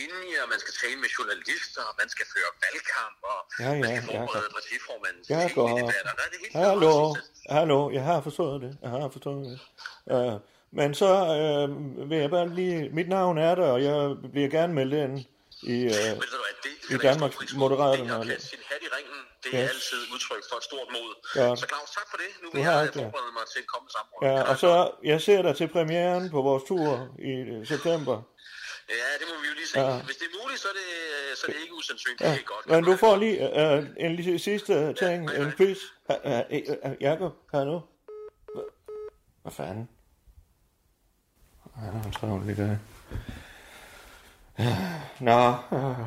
I: linjer, man skal tale med journalister, man skal føre valgkamp, og
C: Ja, ja,
I: man skal forberede
C: Jakob.
I: partiformanden til
C: Jeg går.
I: forskellige debatter. Der er det helt
C: Hallo,
I: fantastisk.
C: hallo, jeg har forstået det, jeg har forstået det. Uh, men så uh, vil jeg bare lige, mit navn er der, og jeg bliver gerne meldt ind i, uh,
I: Men ved du hvad, det
C: i
I: skal være
C: Danmarks
I: stor pris på.
C: Moderaterne
I: Det at
C: og-
I: kaste sin hat i ringen, det er
C: Yes.
I: altid udtryk for et stort mod.
C: Godt.
I: Så Claus, tak for det. Nu
C: Du
I: vil
C: har
I: jeg
C: ikke det.
I: forberede mig til et kommende samråd.
C: ja, og så, jeg ser dig til premieren på vores tur i øh, september.
I: Ja, det må vi jo lige se.
C: Ja.
I: Hvis det er muligt, så er det, øh, så er det ikke usandsynligt.
C: Ja.
I: Det er godt.
C: Men du får lige uh, en lille sidste ting, en quiz. Uh, uh, uh, Jakob, hallo. Hva- Hvad fanden?
H: Ja, han har travlt lige der.
C: Nå, øh,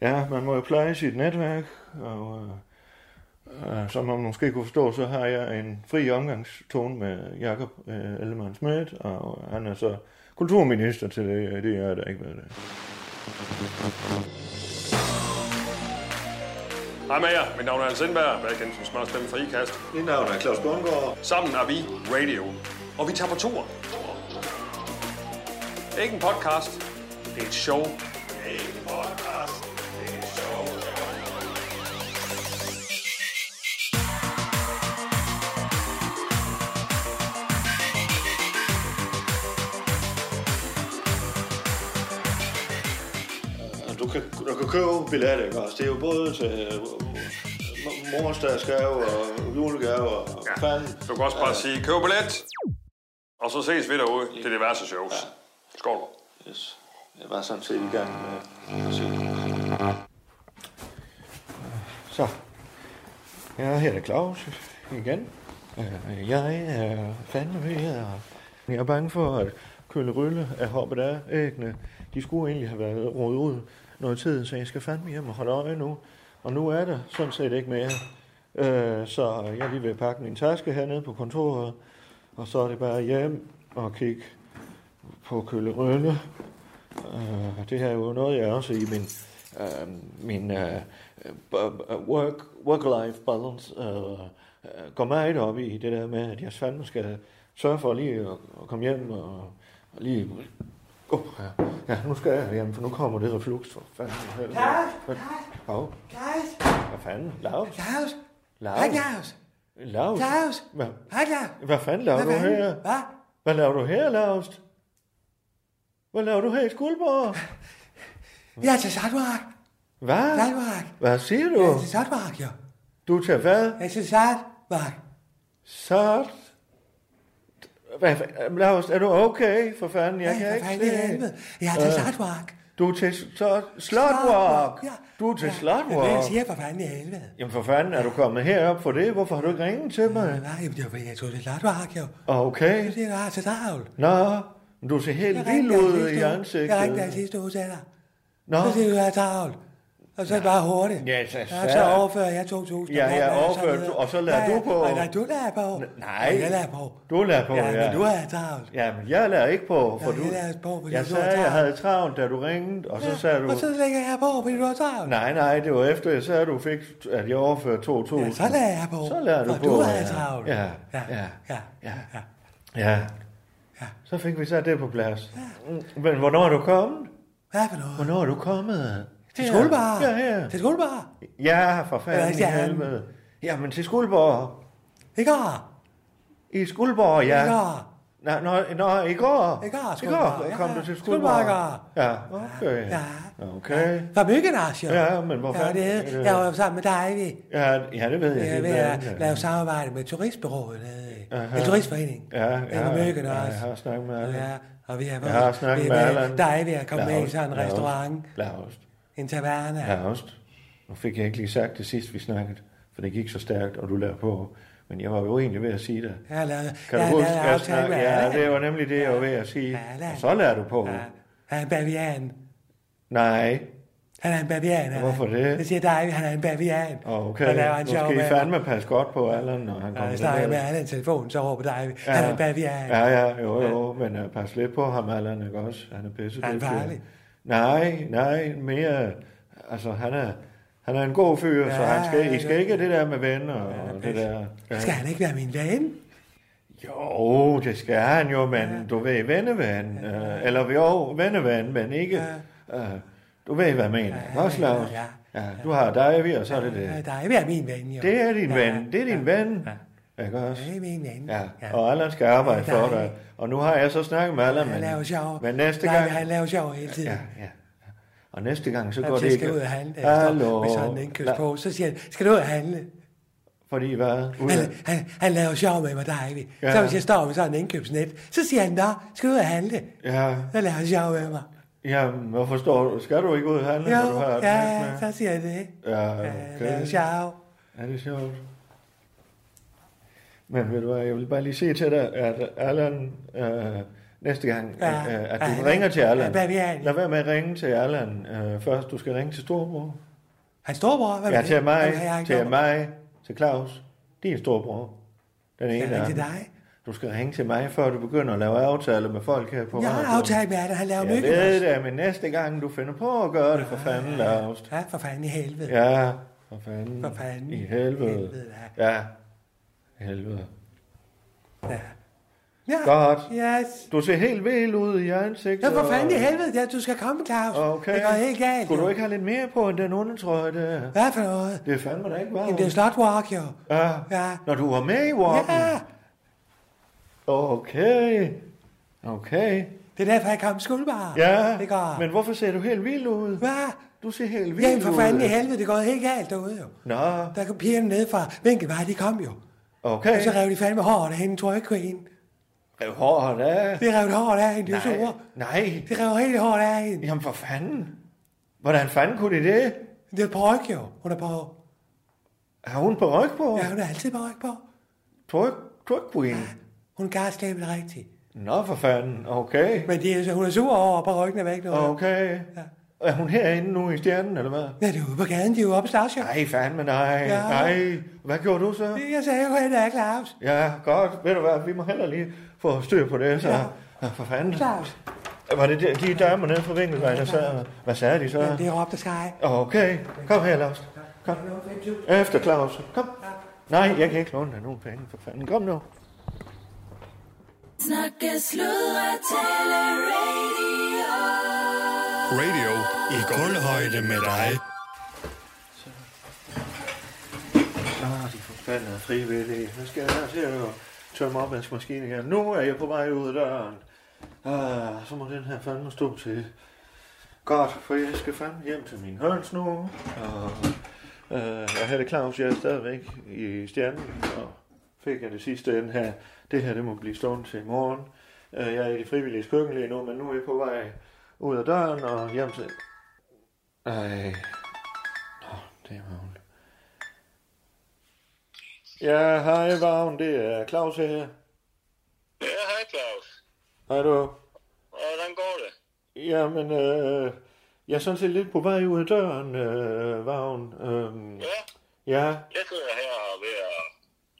C: ja, man må jo pleje sit netværk, og øh, øh, som man måske kunne forstå, så har jeg en fri omgangstone med Jakob øh, Ellemann Schmidt, og han er så kulturminister til det, det er jeg da ikke ved det.
A: Hej med jer. Mit navn er Hans Indberg, og jeg kender som smart stemme fra IKAST.
C: Mit navn er Claus Bundgaard.
A: Sammen er vi Radio, og vi tager på tur. Det er ikke en podcast, det er et show.
C: Altså, Du kan, du kan købe billetter, ikke også? Det er jo både til øh, m- morsdagsgave og julegave og ja. fanden.
A: Du kan også bare sige, køb billet, og så ses vi derude til diverse shows. Skål.
C: Yes. Jeg var sådan set i gang med at se. Så. Ja, her er Claus igen. Øh, Jeg er fandme ved her. Jeg er bange for, at Kølle Rølle er hoppet af æggene. De skulle egentlig have været rodet ud noget tid, så jeg skal fandme hjem og holde øje nu. Og nu er der sådan set ikke mere. Øh, så jeg er lige ved at pakke min taske hernede på kontoret. Og så er det bare hjem og kigge på Kølle Rølle. Øh, det her er jo noget, jeg også i min, øh, min øh, b- b- work, work-life balance øh, øh, går meget op i, det der med, at jeg fandme skal sørge for lige at, at komme hjem og, og lige... Oh, ja. ja, nu skal jeg hjem, for nu kommer det reflux. For fanden, helvede. Hvad- Hov,
J: Klaus!
C: hvad fanden? Laus?
J: Klaus!
C: Laus?
J: Hej, Klaus!
C: Laus?
J: Klaus!
C: Hvad,
J: Hej, Klaus!
C: hvad fanden laver du
J: fanden?
C: her?
J: Hvad?
C: Hvad laver du her, Laust? Hvad laver du her i Skuldborg?
J: Jeg er til Sandmark.
C: Hvad?
J: Saltmark.
C: Hvad siger du?
J: Ja, til Saltmark, ja.
C: Du tager hvad?
J: Ja, til Saltmark.
C: Salt? Hvad, hvad- Claus, er du okay? For fanden, jeg
J: Ja,
C: kan
J: for
C: ikke
J: fanden i
C: se.
J: helvede. Jeg er til
C: Øh,
J: Slotwalk.
C: Du er til sl- Slotwalk?
J: Ja.
C: Du er til
J: Ja, men jeg
C: Slotwalk?
J: siger for fanden i helvede.
C: Jamen for fanden, er du kommet herop for det? Hvorfor har du ikke ringet til mig? Ah,
J: Nej, jamen, det var, jeg tog til Slotwalk, jo.
C: Okay.
J: Det var så travlt.
C: Nå, men du ser helt
J: Jeg ringte
C: vild
J: dig
C: ud
J: sidste
C: i
J: uge.
C: ansigtet.
J: Jeg ringte dig sidste uge til dig.
C: Nå.
J: Så siger du, jeg er travlt. Og så bare hurtigt.
C: Ja, så
J: ja, så
C: sat.
J: overfører jeg 2.000.
C: Ja,
J: om
C: jeg
J: måneden,
C: overfører
J: videre.
C: du- og så lader
J: Ja,
C: du
J: ja.
C: på.
J: Og Nej, du lader på.
C: nej.
J: Og jeg lader på.
C: Du lader på,
J: ja.
C: ja.
J: men du er travlt.
C: Jamen, jeg lader ikke på, for
J: Ja,
C: du...
J: jeg lader på, fordi
C: jeg
J: du er
C: sagde, jeg
J: travlt.
C: havde travlt, da du ringede, og så sagde du...
J: Og så lægger jeg på, fordi du er travlt.
C: Nej, nej, det var efter, jeg sagde, at du fik, at jeg overførte 2.000.
J: Ja, så lader jeg på.
C: Så lader du
J: og
C: på.
J: du er
C: ja.
J: travlt.
C: Ja,
J: ja,
C: ja,
J: ja. ja.
C: ja. Så fik vi så det på plads. Men hvornår er du kommet?
J: Hvad for noget?
C: Hvornår er du kommet?
J: Til
C: Her.
J: skolebar.
C: Ja, her.
J: Til skolebar.
C: Ja, for fanden i
J: Hvad er det?
C: helvede. Jamen, til Skuldborg.
J: I går.
C: I Skuldborg, ja.
J: I går.
C: Nå, nå, nå, i går.
J: I går,
C: I
J: Skuldborg,
C: går
J: ja,
C: kom
J: ja.
C: du til
J: Skuldborg i
C: Skuldborg. Ja, okay.
J: Ja.
C: Okay.
J: Fra Myggenars, jo.
C: Ja, men hvorfor?
J: Ja, det, jeg var jo sammen med dig, vi.
C: Ja, ja, det ved jeg.
J: Jeg er
C: helt
J: ved at
C: blankt,
J: lave samarbejde med turistbyrået. øh,
C: Aha.
J: Med turistforeningen.
C: Ja, ja,
J: Det var myggen
C: ja,
J: også.
C: jeg har snakket med Allan.
J: Ja, og vi har
C: Jeg har snakket med Allan.
J: Dig ved at komme med i
C: Claus,
J: sådan en
C: Claus,
J: restaurant.
C: Claus,
J: En taverne.
C: Claus. Nu fik jeg ikke lige sagt det sidst, vi snakkede, for det gik så stærkt, og du lavede på. Men jeg var jo egentlig ved at sige det.
J: Jeg har lavet,
C: Kan
J: jeg
C: du
J: har
C: huske,
J: lavet
C: jeg
J: aftale
C: snak,
J: med
C: Ja,
J: Allan.
C: det var nemlig det, jeg var ved at sige.
J: Allan.
C: Og så lader du på.
J: Han er en bavian.
C: Nej.
J: Han er en bavian. Allan.
C: Hvorfor det?
J: Jeg siger dig, han er en bavian.
C: Okay,
J: Og laver en
C: nu
J: sjov
C: skal I
J: med-
C: fandme passe godt på Allan, når han
J: Når
C: kommer
J: jeg snakker med
C: derned.
J: Allan i telefonen, så råber dig,
C: Ja.
J: han er en bavian.
C: Ja, ja, jo, jo, men uh, pas lidt på ham, Allan, ikke også? Han er pisse
J: Er han farlig?
C: Nej, nej, mere, altså han er, han er en god fyr, ja, så han skal, I skal ikke have det der med venner og det der. Ja.
J: Skal han ikke være min ven?
C: Jo, det skal han jo, men ja. du ved, venneven, ja. øh, eller jo, venneven, men ikke, ja. øh, du ved, hvad jeg mener, ja, også, Claus? Ja, ja. ja, du har dig, vi, og så er det det.
J: Ja, dig er min ven, jo.
C: Det er din ven. Det er din ven. Ja. Ikke også?
J: Det er min ven.
C: Ja. Og Allan skal arbejde
J: Ja,
C: for dig. Og nu har jeg så snakket med Allan,
J: Han laver
C: men,
J: sjov.
C: men næste
J: Nej,
C: gang...
J: Han laver sjov hele tiden.
C: Ja, ja. Og næste gang, så
J: Han
C: går det
J: siger,
C: ikke...
J: skal ud og handle. Hallo.
C: Hallo.
J: Hvis han ikke kører
C: La-
J: på, så siger han, skal du ud og handle?
C: Fordi hvad? Ud
J: Han,
C: af-
J: han, han laver sjov med mig, David.
C: Ja.
J: Ja. Så hvis jeg står med sådan en indkøbsnet, så siger han, nå, skal du ud og handle?
C: Ja,
J: Så laver han sjov med mig.
C: ja, hvorfor står du? Skal du ikke ud og handle, når du
J: Jo,
C: har et
J: ja,
C: med?
J: så siger jeg det.
C: Ja,
J: Han
C: okay.
J: laver sjov.
C: Ja, det er sjovt. Men ved du hvad, jeg vil bare lige sige til dig, at Allan, øh, næste gang,
J: Ja,
C: ja, øh, at du
J: ja,
C: ringer til Allan.
J: ja, hvad vi er.
C: Lad være med at ringe til Allan øh, først. Du skal ringe til storbror.
J: Hans storebror? Hvad
C: ja,
J: med det?
C: til mig,
J: Jamen, jeg har ikke
C: til
J: nummer.
C: mig, til Claus. Din storbror. Den ene
J: ringe
C: af
J: til
C: dem.
J: dig?
C: Du skal ringe til mig, før du begynder at lave aftaler med folk her på
J: Jeg
C: radioen.
J: har aftalt med at han laver
C: Jeg
J: myggen.
C: ved det, men næste gang du finder på at gøre det, for fanden, Claus.
J: Ja, for fanden i helvede.
C: Ja, for fanden.
J: For fanden.
C: I helvede.
J: Helvede,
C: ja. ja. Helvede.
J: Ja. ja.
C: Godt.
J: Yes.
C: Du ser helt vel ud i ansigtet.
J: Ja, for fanden i
C: og-
J: helvede, ja, du skal komme, Claus.
C: Okay.
J: Det går helt galt.
C: Skulle
J: jo.
C: du ikke have lidt mere på end den undertrøje der?
J: Hvad for noget?
C: Det er fandme da ikke varmt.
J: Jamen, det er slotwalk, jo.
C: Ja.
J: Ja.
C: Når du var med i Walken?
J: Ja,
C: Okay. Okay.
J: det er derfor, jeg kom skuldbar.
C: Ja,
J: Det går.
C: men hvorfor ser du helt vild ud?
J: Hvad?
C: Du ser helt vild
J: Jamen, for
C: ud.
J: fanden i helvede, det går helt galt derude, jo.
C: Nå,
J: Der kom pigerne ned fra Vinkelvej, de kom jo.
C: okay.
J: Og så rev de fandme håret af hende, drag
C: *laughs*
J: queen.
C: Rev håret af.
J: De rev et håret af hende, de var
C: Nej,
J: sure.
C: nej.
J: De rev helt håret af hende.
C: Jamen, for fanden. Hvordan fanden kunne de det?
J: Det er påryk, jo. Hun er på.
C: Har hun på ryg på?
J: Ja, hun er altid påryk på.
C: Tryk, tryk på hende.
J: Hun kan slæbe det rigtigt.
C: Nå, for fanden. Okay.
J: Men de, er- hun er sur over, at parykken er væk nu.
C: Okay. Er hun herinde nu i stjernen, eller hvad?
J: Ja, det er ude på gaden, de er jo oppe i Slagsjø.
C: Nej, fandme nej.
J: Ja.
C: Nej. Hvad gjorde du så?
J: Jeg sagde jo, at jeg er Claus.
C: Ja, godt. Ved du hvad, vi må heller lige få styr på det, så. Ja. For fanden.
J: Claus.
C: Var det de, de damer nede fra Vinkelvejen, der sad? Hvad sagde de så?
J: Ja, det er Rob, der skal
C: Okay, kom her, Claus. Kom. Efter Claus. Kom. Nej, jeg kan ikke låne dig nogen penge, for fanden. Kom nu.
E: Snakke, sludre, tale, radio.
F: Radio i gulvhøjde med dig.
C: Ah, de forbandede frivillige. Nu skal jeg her til at tømme opvaskemaskinen igen. Nu er jeg på vej ud af døren. Ah, så må den her fandme stå til. Godt, for jeg skal fandme hjem til min høns nu. Og, øh, og her er Claus, jeg er stadigvæk i stjernen. Og fik jeg det sidste ende her. Det her, det må blive stående til i morgen. Øh, jeg er i det frivillige køkken lige nu, men nu er jeg på vej ud af døren og hjem til... Ej. Nå, det var hun. Ja, hej Vagn, det er Claus her.
I: Ja, hej Claus.
C: Hej du.
I: Hvordan går det?
C: Jamen, øh, jeg er sådan set lidt på vej ud af døren, øh, Vagn. Øhm, ja. Ja,
I: Jeg sidder her og er ved at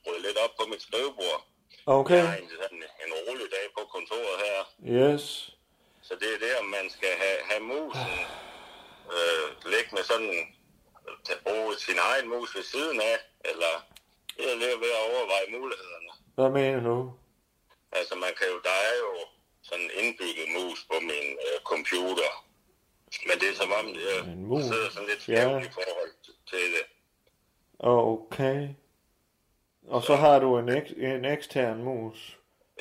I: rydde lidt op på mit skrivebord.
C: Okay.
I: Jeg har en, sådan en rolig dag på kontoret her.
C: yes.
I: Så det er der, man skal have, have musen øh, liggende sådan, øh, til at bruge sin egen mus ved siden af, eller jeg er lige ved at overveje mulighederne.
C: Hvad mener du?
I: Altså man kan jo, der er jo sådan en indbygget mus på min øh, computer, men det er som om, jeg
C: mus?
I: sidder sådan lidt
C: Ja.
I: skævt i forhold til det.
C: Okay. Og så har du en, ek- en ekstern mus.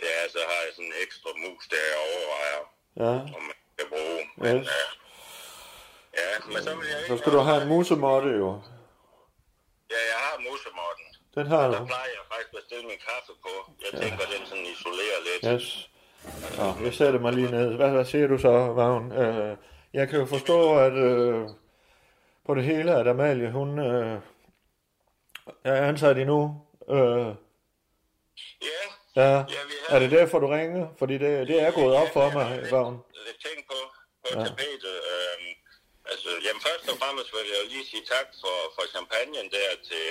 I: Ja, så har jeg sådan en ekstra mus, der jeg overvejer,
C: Ja.
I: om man kan bruge. øh,
C: Yes.
I: Ja, men så vil jeg
C: Så skal du have en musemotte jo.
I: Ja, jeg har musemotten.
C: Den har
I: Og Der
C: du.
I: plejer jeg faktisk at stille min kaffe på. Jeg tænker, den sådan isolerer lidt.
C: Yes. Nå, jeg sætter mig lige ned. Hvad, hvad siger du så, Vagn? Øh, jeg kan jo forstå, at øh, på det hele, at Amalie, hun øh, er ansat endnu. Øh, ja. Ja, er det derfor, du ringer? Fordi det, det er gået op for mig, Vagn.
I: Lidt ting på, på
C: Ja.
I: ja. tapetet. Øhm, altså, jamen først og fremmest vil jeg jo lige sige tak for, for champagnen der til,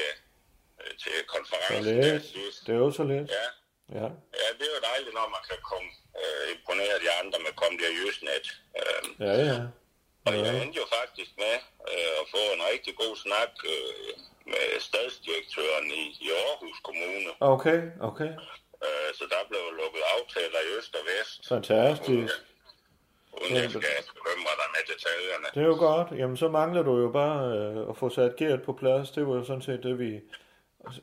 I: øh, til
C: Så
I: konferencen. der
C: lidt.
I: sidst.
C: Det er jo så lidt.
I: Ja.
C: Ja.
I: Ja, det er jo dejligt, når man kan komme øh, imponere de andre med at komme der Jøsnet. Øhm,
C: Ja, ja.
I: Og jeg endte jo faktisk med øh, at få en rigtig god snak øh, med stadsdirektøren i, i Aarhus Kommune.
C: Okay, okay.
I: Øh, så der blev lukket aftaler i Øst og Vest,
C: Fantastisk.
I: uden jeg skal bekymre dig med detaljerne.
C: Det er jo godt. Jamen, så mangler du jo bare øh, at få sat Gert på plads. Det var jo sådan set det, vi...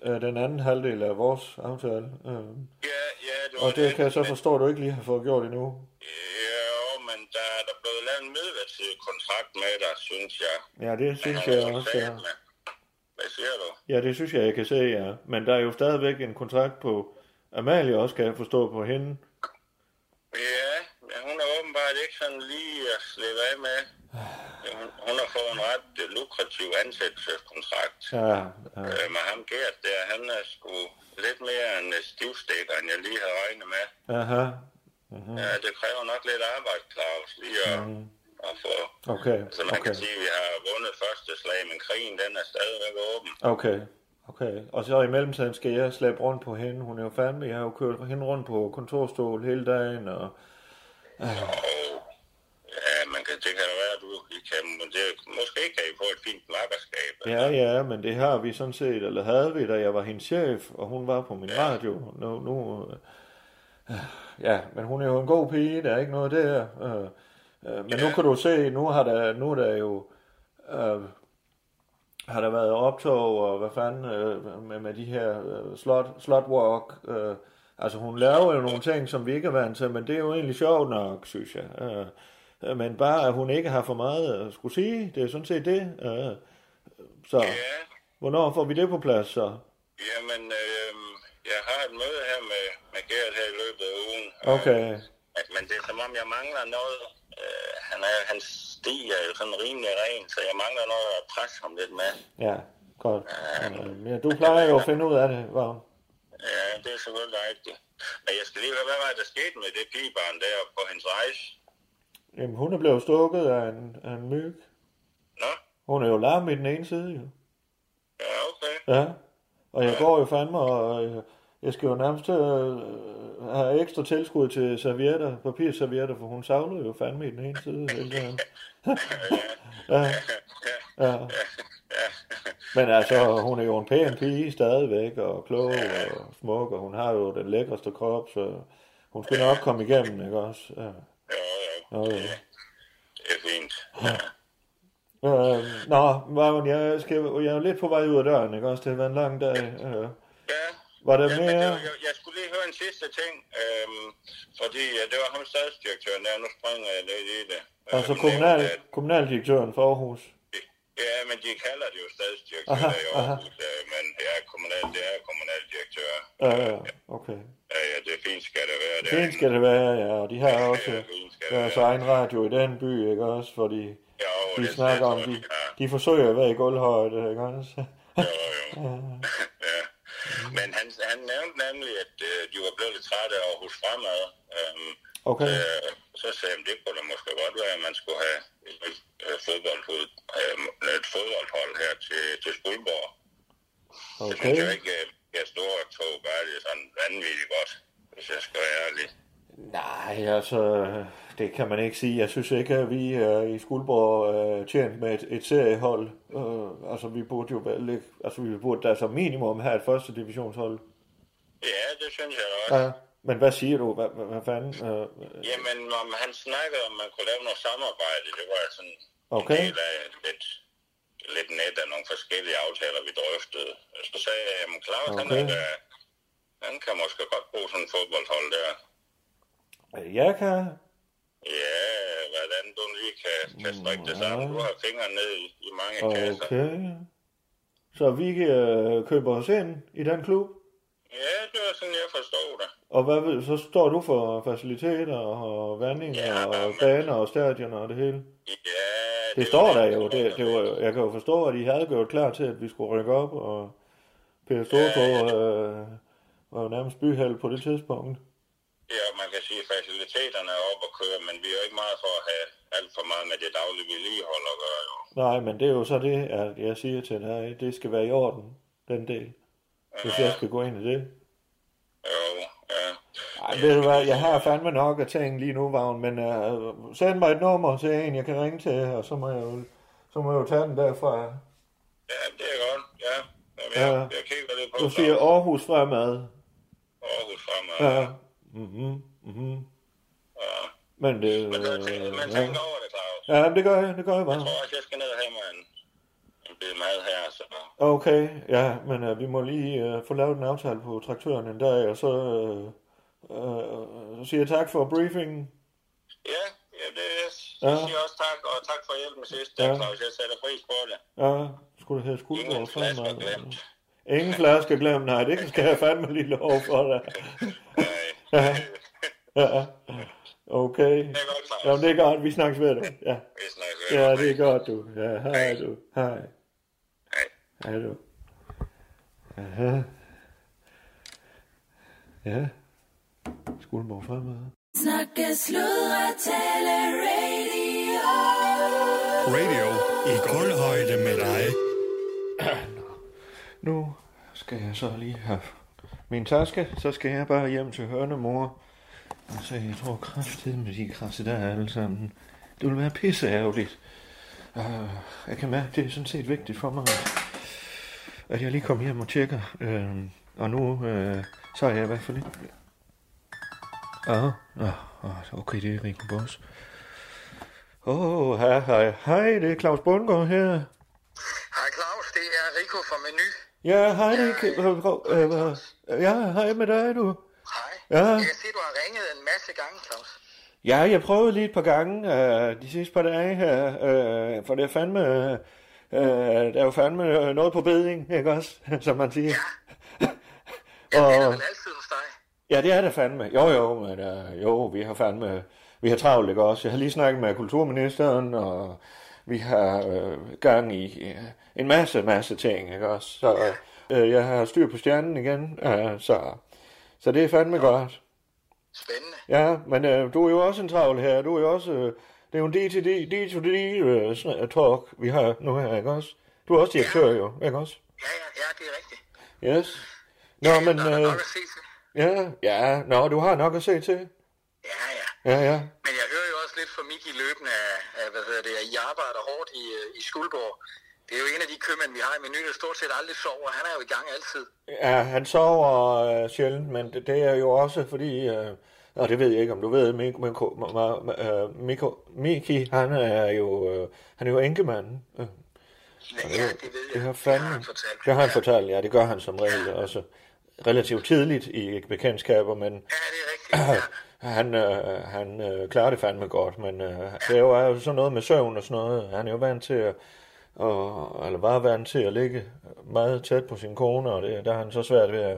C: Øh, den anden halvdel af vores aftale. Øh. Ja, ja, det og det kan jeg så forstå, at du ikke lige har fået gjort endnu.
I: Jo, men der er der blevet lavet en midlertidig kontrakt med dig, synes jeg.
C: Ja, det synes jeg også, ja.
I: Hvad siger du?
C: Ja, det synes jeg, jeg kan se, ja. Men der er jo stadigvæk en kontrakt på Amalie også, kan jeg forstå på hende.
I: Ja, men hun er åbenbart ikke sådan lige at slippe af med. Hun, hun har fået en ret øh, lukrativ ansættelseskontrakt.
C: Ja, ja.
I: Øh, men ham Gert der, han er sgu lidt mere en øh, stivstikker, end jeg lige havde regnet med.
C: Aha.
I: Ja, det kræver nok lidt arbejde, Claus, lige at,
C: Mhm.
I: at få...
C: Okay,
I: Så man
C: okay.
I: kan sige, at vi har vundet første slag, men krigen den er stadigvæk åben.
C: Okay, okay. Og så i mellemtiden skal jeg slæbe rundt på hende. Hun er jo fandme, jeg har jo kørt hende rundt på kontorstol hele dagen, og... Øh.
I: Ja, man kan, det kan da være, at du I kan, men det, måske kan I få et fint makkerskab.
C: Ja, ja, men det har vi sådan set, eller havde vi, da jeg var hendes chef, og hun var på min radio. Nu, nu, øh, øh, ja, men hun er jo en god pige, der er ikke noget der. Øh, øh, men nu kan du se, nu har der, nu er der jo øh, har der været optog, og hvad fanden øh, med, med de her øh, slot, slotwalk. Øh, altså hun laver jo nogle ting, som vi ikke er vant til, men det er jo egentlig sjovt nok, synes jeg. Øh, øh, men bare, at hun ikke har for meget at skulle sige, det er sådan set det. Øh, så hvornår får vi det på plads så?
I: Jamen, øh, jeg har et møde her med, med Gert her i løbet af ugen.
C: Okay,
I: Men det er som om, jeg mangler noget. Øh, han, er, han stiger jo sådan rimelig ren, så jeg mangler noget at presse ham lidt med.
C: ja, godt. Øh, men du plejer jo at finde ud af det, var.
I: Ja, det er selvfølgelig rigtigt. Men jeg skal lige høre, hvad var det, der skete med det pigebarn der på hendes rejse?
C: Jamen, hun er blevet stukket af en, af en myg. Hun er jo lam i den ene side, jo. Ja, okay. Ja, og jeg går jo fandme, og øh, jeg skal jo nærmest øh, have ekstra tilskud til servietter, papirservietter, for hun savlede jo fandme i den ene side hele tiden. *laughs* ja. ja. Men altså, hun er jo en pæn pige stadigvæk, og klog og smuk, og hun har jo den lækreste krop, så hun skal nok komme igennem, ikke også? Ja. øh, Jo, jo.
I: Det er fint.
C: Øh, nå, Marvin, jeg, skal, jeg er jo lidt på vej ud af døren, ikke også? Det har været en lang dag. Øh. Var der
I: Ja, men det
C: mere?
I: var, jeg, jeg skulle lige høre en sidste ting, øhm, fordi øh, det var ham stadsdirektøren der, nu springer jeg lidt i det.
C: Og så kommunal, kommunaldirektøren for Aarhus.
I: Ja, men de kalder det jo stadsdirektør
C: Aha,
I: i
C: aha.
I: Aarhus, øh, men det er kommunal, det er kommunaldirektør.
C: Ja, ja, okay.
I: Ja, ja, det er fint skal det være. Det
C: Fint skal det være, ja, og
I: *laughs*
C: de har også deres egen radio i den by, ikke også, hvor de, de snakker om, de, de forsøger at være i gulvhøjde, ikke også? *laughs*
I: ja. Men han, han nævnte nemlig, at øh, de var blevet lidt trætte af Aarhus Fremad. Øhm,
C: Okay.
I: øh, så sagde han, det kunne da måske godt være, at man skulle have et, nyt, øh, fodboldhold, øh, et fodboldhold her til, til Skuldborg. Det synes jeg
C: Okay.
I: ikke, øh, jeg står og tog bare det sådan vanvittigt godt, hvis jeg skal være ærlig.
C: Nej, altså, det kan man ikke sige. Jeg synes ikke, at vi er i Skuldborg øh, tjent med et, et seriehold. Øh, altså, vi burde jo være, ligge- altså, vi burde da som minimum have et første divisionshold.
I: Ja, det synes jeg da også.
C: Ja, men hvad siger du? Hvad, hvad, hvad fanden? Øh,
I: Jamen, om han snakkede om, man kunne lave noget samarbejde, det var jeg sådan
C: Okay.
I: en del af lidt, lidt net af nogle forskellige aftaler, vi drøftede. Så sagde jeg, at Claus, okay. han, er
C: Okay.
I: da, han kan måske godt bruge sådan et fodboldhold der.
C: øh, jeg kan...
I: Ja, hvordan du lige kan, kan strikke det sammen. Du har fingre ned i, i mange kasser.
C: Okay. Så vi øh, køber os ind i den klub,
I: Ja, det var sådan, jeg forstod det.
C: og hvad ved, så står du for faciliteter og vanding ja, og baner og stadioner og det hele? Ja,
I: det,
C: det står der jo. Det, det var, jo- jeg kan jo forstå, at I havde gjort klar til, at vi skulle rykke op, og Per Storgård øh, var jo nærmest byheld på det tidspunkt.
I: Ja, man kan sige, at faciliteterne er oppe at køre, men vi er jo ikke meget for at have alt for meget med det daglige vedligehold at gøre. jo.
C: Nej, men det er jo så det, at jeg siger til dig, det skal være i orden, den del. Hvis jeg skal gå ind i det. Ej, ved du hvad, jeg har fandme nok af ting lige nu, Vagn, men uh, send mig et nummer til en, jeg kan ringe til, og så må jeg jo, så må jeg jo tage den derfra. Ja, det er godt, ja. Jamen, jeg, jeg kigger lidt på Du siger Aarhus fremad.
I: Aarhus fremad.
C: Ja. Mhm, mhm. Men det... Men,
I: men
C: ja.
I: tænk over det, Claus.
C: Ja, men det gør jeg, det gør jeg bare.
I: Jeg tror også, jeg skal ned og have mig en, en bid mad her, så
C: Okay, ja, men øh, vi må lige øh, få lavet en aftale på traktøren en dag, og så, øh, øh, så siger jeg tak for briefingen.
I: ja.
C: Ja.
I: jeg siger også tak, og tak for hjælpen sidst, ja.
C: Ja.
I: Claus. Jeg sætter pris på det.
C: Ja, skulle det hedde skuldbrød
I: flasker
C: fremad? Ingen flasker glemt, nej, det skal jeg fandme lige lov for dig.
I: *laughs*
C: ja. ja. Okay. Det er godt, Jamen, det er godt, vi snakkes ved dig. Ja. Ja, det er godt, du. Ja, hej du. Hej. Hej du. Aha. Ja. Skuldborg fremad.
E: Snakke, sludre, tale, radio.
F: Radio i gulvhøjde med dig.
C: Nu skal jeg så lige have min taske, så skal jeg bare hjem til hørnemor. Altså, jeg tror kraftigt med de krasse der er alle sammen. Det ville være pisse ærgerligt. Uh, jeg kan mærke, det er sådan set vigtigt for mig, at- at jeg lige kommer hjem og tjekker. Uh, og nu uh, så er jeg i hvert fald ikke... Ah, ah, ah, okay, det er Rico Boss. Åh, oh, hej, hej, hej, det er Claus Bundgaard her.
K: Hej Claus, det er Rico fra Menu.
C: Ja, hej Nick. øh, Ja, hej med dig, du. Hej. Ja.
K: Jeg ser, du har ringet en masse gange, Claus.
C: ja, jeg prøvede lige et par gange øh, de sidste par dage her, øh, for det er fandme, øh, øh, der er jo fandme øh, noget på beding, ikke også, *laughs* som man siger. Ja, og, det er vel altid hos dig. Ja, det er det fandme. Jo, jo, men øh, jo, vi har fandme, vi har travlt, ikke også. Jeg har lige snakket med kulturministeren, og vi har øh, gang i øh, en masse, masse ting, ikke også. Så øh, jeg har styr på stjernen igen, øh, så, så det er fandme godt. Ja, men øh, du er jo også en travl her. Du er jo også... Øh, det er jo en D2D, D2D øh, sådan, øh, talk, vi har nu her, ikke også? Du er også direktør jo, ikke også? Ja, ja, ja det er rigtigt. Yes. Nå, men... Øh, nok at se til. Ja, ja. Nå, du har nok at se til. Ja, ja. Ja, ja.
K: Men jeg hører jo også lidt fra Miki løbende af, af hvad hedder det, at I arbejder hårdt i, øh, i Skuldborg. Det er jo en af de købmænd, vi har i Menu, der stort set aldrig sover. Han er jo i gang altid.
C: Ja, han sover øh, sjældent, men det, det er jo også fordi... Øh, Nå, det ved jeg ikke, om du ved, Mik, Miko, Ma- Ma- øh, Miko, Miki, han er jo, øh, han er jo enkemanden. Øh. Ja, det ved jeg. Det har, fandme, det har han fortalt, ja, det gør han som regel også. relativt tidligt i bekendtskaber, men ja, det er rigtigt, ja. han, øh, han øh, klarer det fandme godt, men øh, det er jo, er jo sådan noget med søvn og sådan noget. Han er jo vant til at, og, eller var vant til at ligge meget tæt på sin kone, og det, der har han så svært ved at,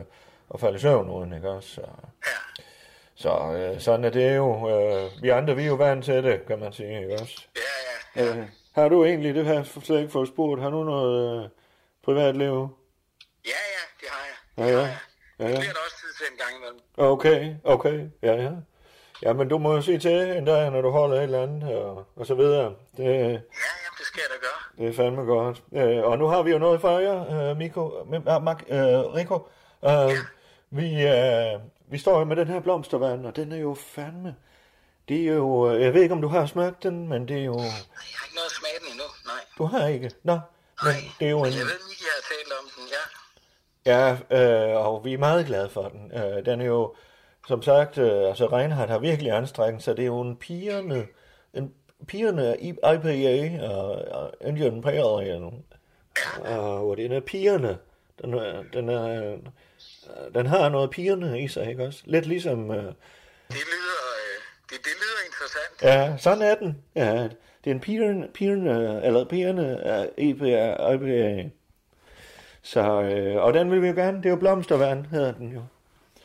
C: at falde i søvn uden, ikke også? Så, ja. så øh, sådan er det jo. Øh, vi andre, vi er jo vant til det, kan man sige, ikke også? Ja, ja. Øh, har du egentlig, det har jeg slet ikke fået spurgt, har du noget øh, privatliv? Ja, ja. ja, ja. Det bliver der også tid til en gang imellem. Okay, okay, ja, ja. Ja, men du må jo sige til en dag, når du holder et eller andet, og, og så videre. Det, ja, jamen, det skal jeg da gøre. Det er fandme godt. Øh, og nu har vi jo noget for jer, øh, Miko, øh, Mark, øh, Rico. Øh, ja. vi, øh, vi står jo med den her blomstervand, og den er jo fandme... Det er jo... øh, Jeg ved ikke, om du har smagt den, men det er jo... Jeg
I: har ikke noget smag den endnu, nej.
C: Du har ikke? Nå, men det er jo en...
I: Jeg ved, Miki har talt om den, ja.
C: Ja, øh, og vi er meget glade for den. Øh, den er jo, som sagt, øh, altså Reinhardt har virkelig anstrengt sig. Det er jo en pigerne, en pigerne i IPA og, og Indian Pale Ale. Og, og Øh, den er pigerne. Den, er, den, er, øh, den har noget pigerne i sig, ikke også? Lidt ligesom... Øh, det, lyder,
I: øh, det, det lyder interessant.
C: Ja, sådan er den. Ja, det er en pigerne, pigerne eller pigerne E af IPA. IPA. Så, øh, og den vil vi jo gerne, det er jo blomstervand, hedder den jo.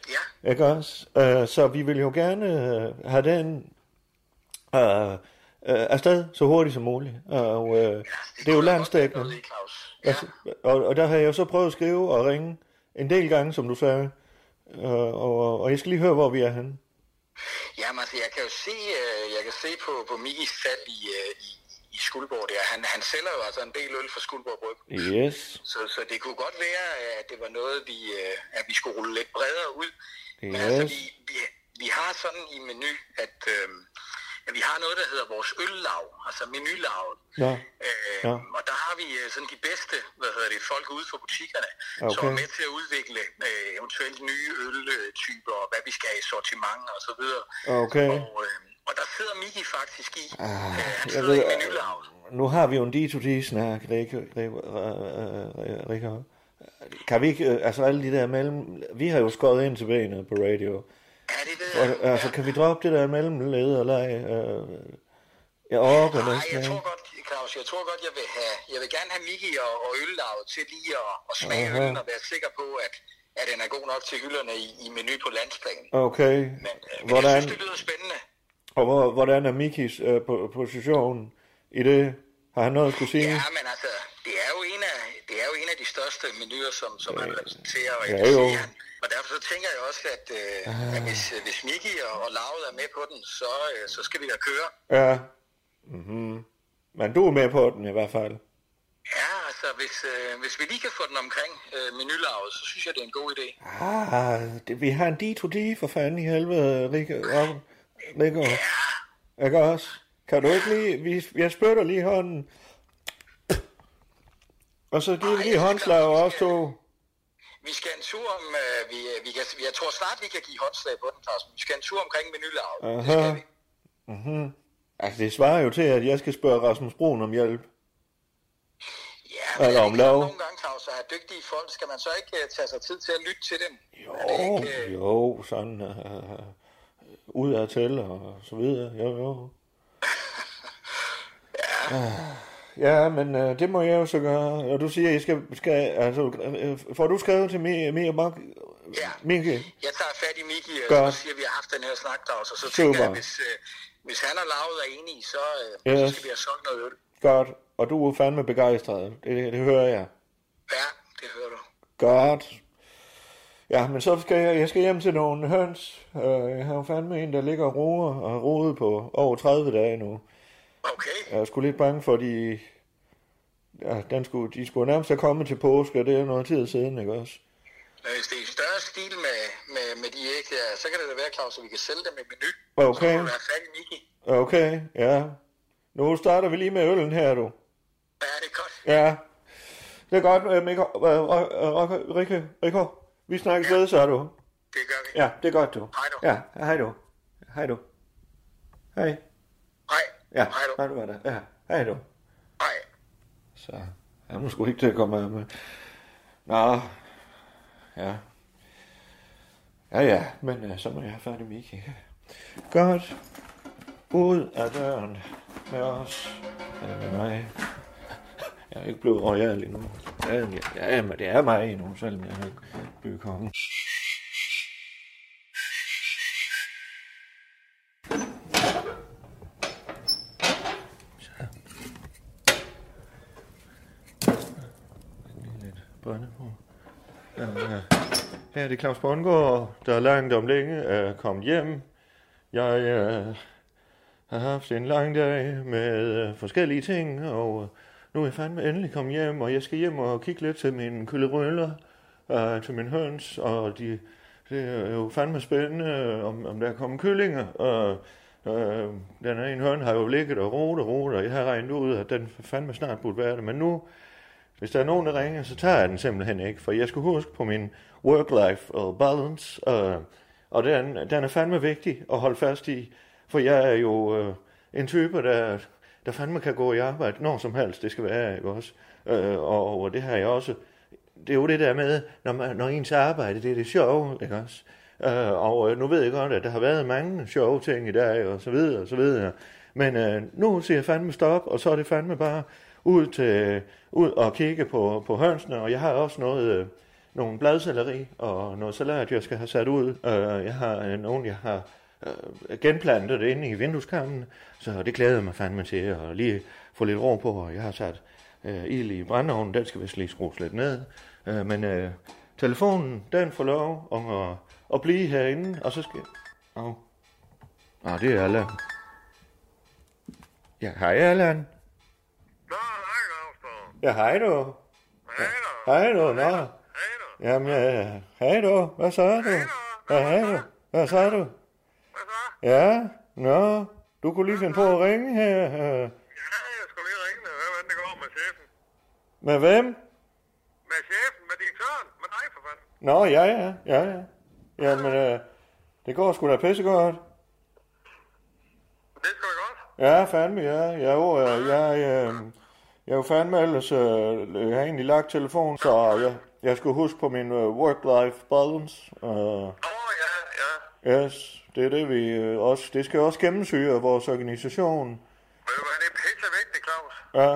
C: Ja. Ikke også? Øh, så vi vil jo gerne øh, have den øh, øh, afsted så hurtigt som muligt. Og øh, ja, det, det er jo landstækkende. Ja. Og, og der har jeg jo så prøvet at skrive og ringe en del gange, som du sagde. Øh, og, og jeg skal lige høre, hvor vi er henne.
I: Jamen altså, jeg kan jo se, jeg kan se på, på Mikis salg i, øh, i, i Skuldborg der. Han, han sælger jo altså en del øl fra Skuldborg Bryg.
C: Yes.
I: Så, så det kunne godt være, at det var noget, vi, øh, at vi skulle rulle lidt bredere ud. Yes. Men altså, vi, vi, vi har sådan i menu, at, øh, at vi har noget, der hedder vores øllav, altså menulavet.
C: Ja.
I: Øh,
C: ja.
I: Og der har vi øh, sådan de bedste, hvad hedder det, folk ude fra butikkerne, okay. som er med til at udvikle øh, eventuelt nye øltyper, og hvad vi skal have i sortiment og så videre.
C: Okay.
I: Og, øh, og der sidder Miki faktisk i. Ah, øh, han sidder ved, i menulavn.
C: Nu har vi jo en D2D-snak, øh, Rikke. Kan vi ikke, altså alle de der mellem... Vi har jo skåret ind til benet på radio.
I: Ja, det ved jeg.
C: Altså, kan vi droppe det der mellemled og lege? Jeg orker
I: Nej, jeg tror godt, Claus, jeg tror godt, jeg vil, have, jeg vil gerne have Miki og, og øllavet til lige at, at smage Aha. øllen og være sikker på, at, at den er god nok til hylderne i, i menu på landsplan.
C: Okay.
I: Men, øh, men Hvordan? jeg synes, det lyder spændende.
C: Og hvor, hvordan er Mikis øh, position i det? Har han noget at skulle sige?
I: Ja, men altså, det er jo en af, det er jo en af de største menuer, som, som Øh, ja, han repræsenterer. Og,
C: ja, jo.
I: Han, og derfor så tænker jeg også, at, øh, ah. at hvis, hvis Miki og, og Lavet er med på den, så, øh, så skal vi da køre.
C: Ja. Mm-hmm. Men du er med på den i hvert fald.
I: Ja, altså, hvis, øh, hvis vi lige kan få den omkring øh, menularvet, så synes jeg, det er en god idé.
C: Ah, det, vi har en D2D for fanden i helvede, Rikke. Nico. Ja. Ikke også? Kan du ikke lige... Vi, jeg spytter lige hånden. Og så giver vi lige håndslag og også to.
I: Vi skal en tur om... Øh, vi, vi kan, jeg tror snart, vi kan give håndslag på den, Carsten. Vi skal en tur omkring menularvet.
C: Aha. Det skal vi. Mm-hmm. Altså, det svarer jo til, at jeg skal spørge Rasmus Broen om hjælp.
I: Ja, men Eller om lov. Nogle gange, Claus, er dygtige folk, skal man så ikke uh, tage sig tid til at lytte til dem?
C: Jo, ikke, uh... jo, sådan... Uh ud af til og så videre. Jo, jo.
I: ja.
C: ja, men øh, det må jeg jo så gøre. Og du siger, jeg skal, skal altså, øh, får du skrevet til Mia Mi Mark?
I: Ja.
C: Miki?
I: Jeg tager fat i Miki, og Godt. så siger, at vi har haft den her snak, der, og så Super. tænker jeg, hvis, øh, hvis han og Lavet er enige, så, øh, yes. så skal vi have solgt noget øl.
C: Godt. Og du er fandme begejstret. Det, det, det hører jeg.
I: Ja, det hører du.
C: Godt. Ja, men så skal jeg, jeg skal hjem til nogle høns. Øh, Jeg har jo fandme en, der ligger og roer og roet på over 30 dage nu.
I: Okay.
C: Jeg er sgu lidt bange for, de... Ja, den skulle, de skulle nærmest have kommet til påske, og det er noget tid siden, ikke også?
I: Men hvis det er i større stil med, med, med de æg der, så kan det da være, Claus, at vi kan sælge dem i menu.
C: Okay.
I: Så være fat i Miki.
C: Okay, ja. Nu starter vi lige med øllen her, du.
I: Ja, det er godt.
C: Ja. Det er godt, øh, Mikko. øh, Rikke, Rikke. Vi snakkes ja. ved, så er du.
I: Det gør vi.
C: Ja, det er godt, du.
I: Hej du.
C: Ja, hej du. Hej du. Hej. Hej.
I: Ja,
C: hej du. Hej du var der. Ja, hej du.
I: Hej.
C: Så, jeg må sgu ikke til at komme af med. Nå, ja. Ja, ja, men øh, så må jeg have fat i Miki. Godt. Ud af døren med os. Eller med mig. Jeg er ikke blevet royal endnu. Ja, ja, ja, men det er mig endnu, selvom jeg er bykongen. brænde på. Ja, ja. Her er det Claus Bondgaard, der langt om længe er kommet hjem. Jeg øh, har haft en lang dag med øh, forskellige ting, og øh, nu er jeg fandme endelig kommet hjem, og jeg skal hjem og kigge lidt til mine kyllerøller, øh, til mine høns, og de, det er jo fandme spændende, øh, om, om der er kommet kyllinger. Og, øh, den ene høn har jo ligget og rodet og rodet, og jeg har regnet ud, at den fandme snart burde være det, men nu hvis der er nogen, der ringer, så tager jeg den simpelthen ikke, for jeg skulle huske på min work-life og balance, øh, og den, den er fandme vigtig at holde fast i, for jeg er jo øh, en type, der, der fandme kan gå i arbejde når som helst, det skal være, ikke også? Øh, og, og det har jeg også, det er jo det der med, når, man, når ens arbejde, det er det sjove, ikke også? Øh, og øh, nu ved jeg godt, at der har været mange sjove ting i dag, og så videre, og så videre, men øh, nu siger jeg fandme stop, og så er det fandme bare ud, til, ud og kigge på, på hønsene, og jeg har også noget, øh, nogle bladcelleri og noget salat, jeg skal have sat ud. Øh, jeg har øh, nogle, jeg har øh, genplantet inde i vindueskarmen, så det glæder jeg mig fandme til at lige få lidt ro på, og jeg har sat øh, ild i brændeovnen, den skal vist lige skrues lidt ned. Øh, men øh, telefonen, den får lov om at, at blive herinde, og så skal... Åh, oh. ah, det er Allan. Ja, hej Allan. Ja, hej du. Hej du. Hej du, nå. Hej du. Jamen, ja, hej du. Hvad så du? Ja, hej du. Hvad så du? Hvad så? Ja, nå. Du kunne lige finde på at ringe her. Ja, jeg
I: skulle lige ringe og høre, hvordan det går med chefen.
C: Med hvem?
I: Med chefen, med direktøren, med dig for fanden.
C: Nå, ja, ja, ja, ja. Jamen, øh, det går sgu da pissegodt.
I: Det går godt.
C: Ja, fandme, ja. Jeg, jo, øh, jeg, øh, jeg er jo fandme ellers, øh, jeg har egentlig lagt telefonen, så jeg, jeg skulle huske på min øh, work-life balance. Åh, øh. oh,
I: ja,
C: ja. Yes, det er det, vi øh, også, det skal også gennemsyre vores organisation.
I: Ved du hvad, det er pisse vigtigt, Claus.
C: Ja.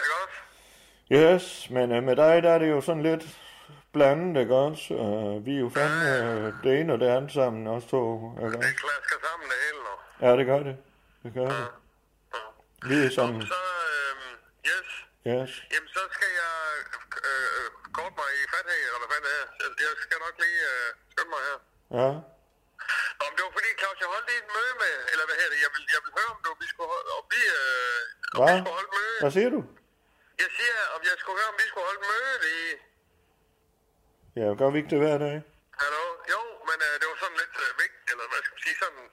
I: Ikke også?
C: Yes, men øh, med dig, der er det jo sådan lidt blandet, ikke også? Øh, vi er jo fandme øh, det ene og det andet sammen, også to, ikke også?
I: Det klasker sammen det hele nu.
C: Ja, det gør det. Det gør det. Vi er sådan...
I: Så, øhm, Yes.
C: Yes.
I: Jamen, så skal jeg øh, kort mig i fat her, eller hvad fanden det er. Jeg, jeg skal nok lige øh, skynde mig her.
C: Ja.
I: Om det var fordi, Claus, jeg holdt lige et møde med, eller hvad her det, jeg vil, jeg vil høre, om, du, vi skulle holde, om, vi, øh, om
C: Hva?
I: vi skulle holde møde.
C: Hvad siger du?
I: Jeg siger, om jeg skulle høre, om vi skulle holde møde i...
C: Ja, gør vi ikke det hver dag?
I: Hallo? Jo, men øh, det var sådan lidt øh, vigtigt, eller hvad skal man sige, sådan...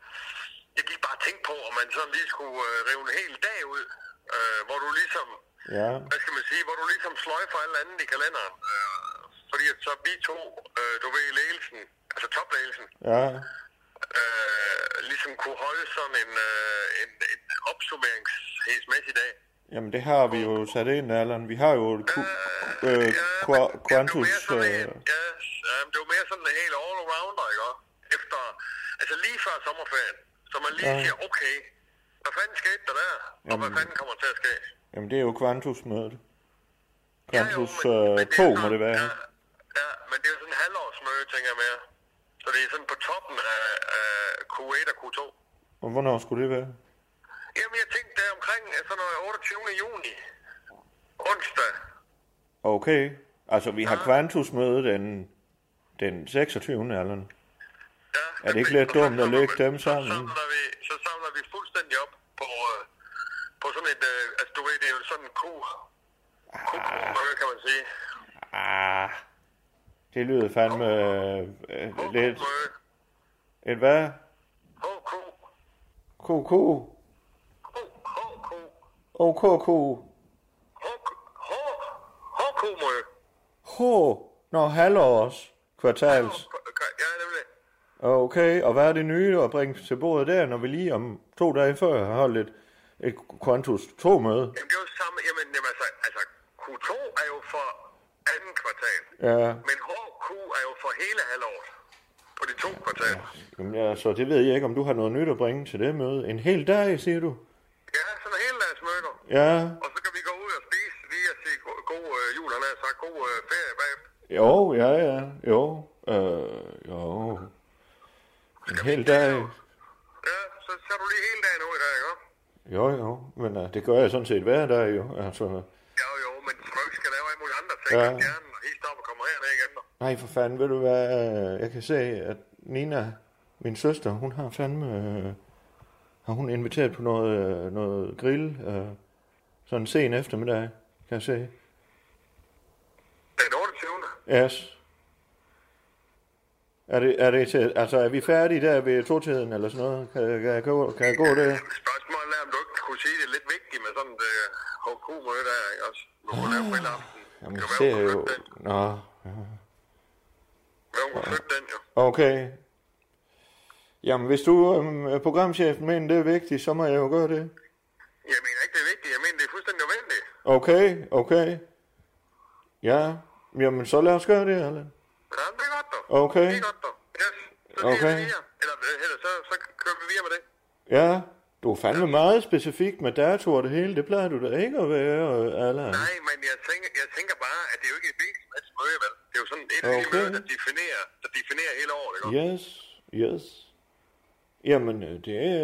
I: Jeg gik bare og tænkte på, om man sådan lige skulle øh, rive en hel dag ud, øh, hvor du ligesom
C: Ja.
I: hvad skal man sige, hvor du ligesom sløjfer alt andet i kalenderen. Øh, fordi at så vi to, øh, du ved, ledelsen, altså topledelsen,
C: Ja.
I: øh, ligesom kunne holde sådan en, øh, en, en opsummeringsmæssig dag.
C: Jamen, det har vi jo sat ind, Allan. Vi har jo et ku- øh, qua- Quantus... Øh,
I: Ja, øh, det var mere sådan en helt all-arounder, ikke også? Efter, altså lige før sommerferien, så man lige
C: Ja.
I: siger, okay, hvad fanden skete der der? Og hvad
C: Jamen.
I: fanden kommer til at ske?
C: jamen, det er jo Quantus-mødet. Quantus øh, 2 må det være.
I: Ja, men det er jo sådan en halvårsmøde, tænker jeg mere. Så det er sådan på toppen af, af Q1 og Q2.
C: Og hvornår skulle det være?
I: Jamen, jeg tænkte der omkring øh, sådan noget 28. juni. Onsdag.
C: Okay. Altså, vi har Quantus-møde den, den 26. Allan. Ja, er det ikke lidt dumt at lægge dem sammen?
I: Så samler vi fuldstændig op på, øh, på sådan et... Øh, altså, du ved, det er jo sådan en Q. Q-møde, kan man sige.
C: Ah, det lyder fandme øh, øh, lidt... Et hvad? HK. HK. HKK.
I: HK-møde.
C: H. Nå, halvårs. Kvartals.
I: Ja, nemlig.
C: Okay, og hvad er det nye at bringe til bordet der, når vi lige om to dage før har holdt et, et Quantus 2-møde?
I: Jamen, det er jo samme... Jamen, jamen altså, altså, Q2 er jo for anden kvartal.
C: Ja.
I: Men HQ er jo for hele halvåret. På de to kvartal.
C: Jamen, ja, så det ved jeg ikke, om du har noget nyt at bringe til det møde. En hel dag, siger du?
I: Ja, sådan hele dagen smykker.
C: Ja.
I: Og så kan vi gå ud og spise lige og sige go- god øh, jul, han har sagt god øh, ferie bagefter.
C: Jo, ja, ja. Jo. Øh, jo. En hel dag.
I: Så tager du lige hele dagen ud i dag, ikke? også?
C: Jo, jo. Men uh, det gør jeg sådan set hver dag, jo. Altså,
I: Jo, jo, men så du ikke skal lave alle mulige andre ting.
C: Ja.
I: Ja. Hjernen og helt op og kommer herned igen.
C: nej, for fanden, ved du hvad? øh, Jeg kan se, at Nina, min søster, hun har fandme... Øh, har hun inviteret på noget, øh, noget grill? Øh, sådan sen eftermiddag, kan jeg se.
I: Den 28.
C: Yes. Er det, er det til, altså, er vi færdige der ved totiden eller sådan noget? Kan, kan, jeg, gå, kan jeg gå der?
I: Spørgsmålet er, om du ikke kunne sige, det er lidt vigtigt med sådan øh, et HQ-møde der, ikke også? Hvor hun er på hele aften.
C: Jamen, jeg ser jo... Nå, ja.
I: Hvem kunne flytte den, jo?
C: Okay. Jamen, hvis du, øhm, programchefen, mener, det er vigtigt, så må jeg jo gøre det.
I: Jeg mener ikke, det er vigtigt. Jeg mener, det er fuldstændig nødvendigt.
C: Okay, okay. Ja, jamen, så lad os gøre det, Allan.
I: Ja, det er godt, dog.
C: Okay.
I: Det er godt, dog. Yes. Så
C: Okay.
I: okay. siger vi det her. Eller, øh, eller så, så kører vi videre med det.
C: Ja, du er fandme meget specifik med datoer og det hele. Det plejer du da ikke at være, øh, Allan.
I: Nej, men jeg tænker, jeg tænker bare, at det er jo ikke et hvilket som helst møde, vel? Det er jo sådan et okay.
C: Okay.
I: møde, der definerer, der definerer hele året, ikke?
C: Yes, yes. Jamen, øh, det er,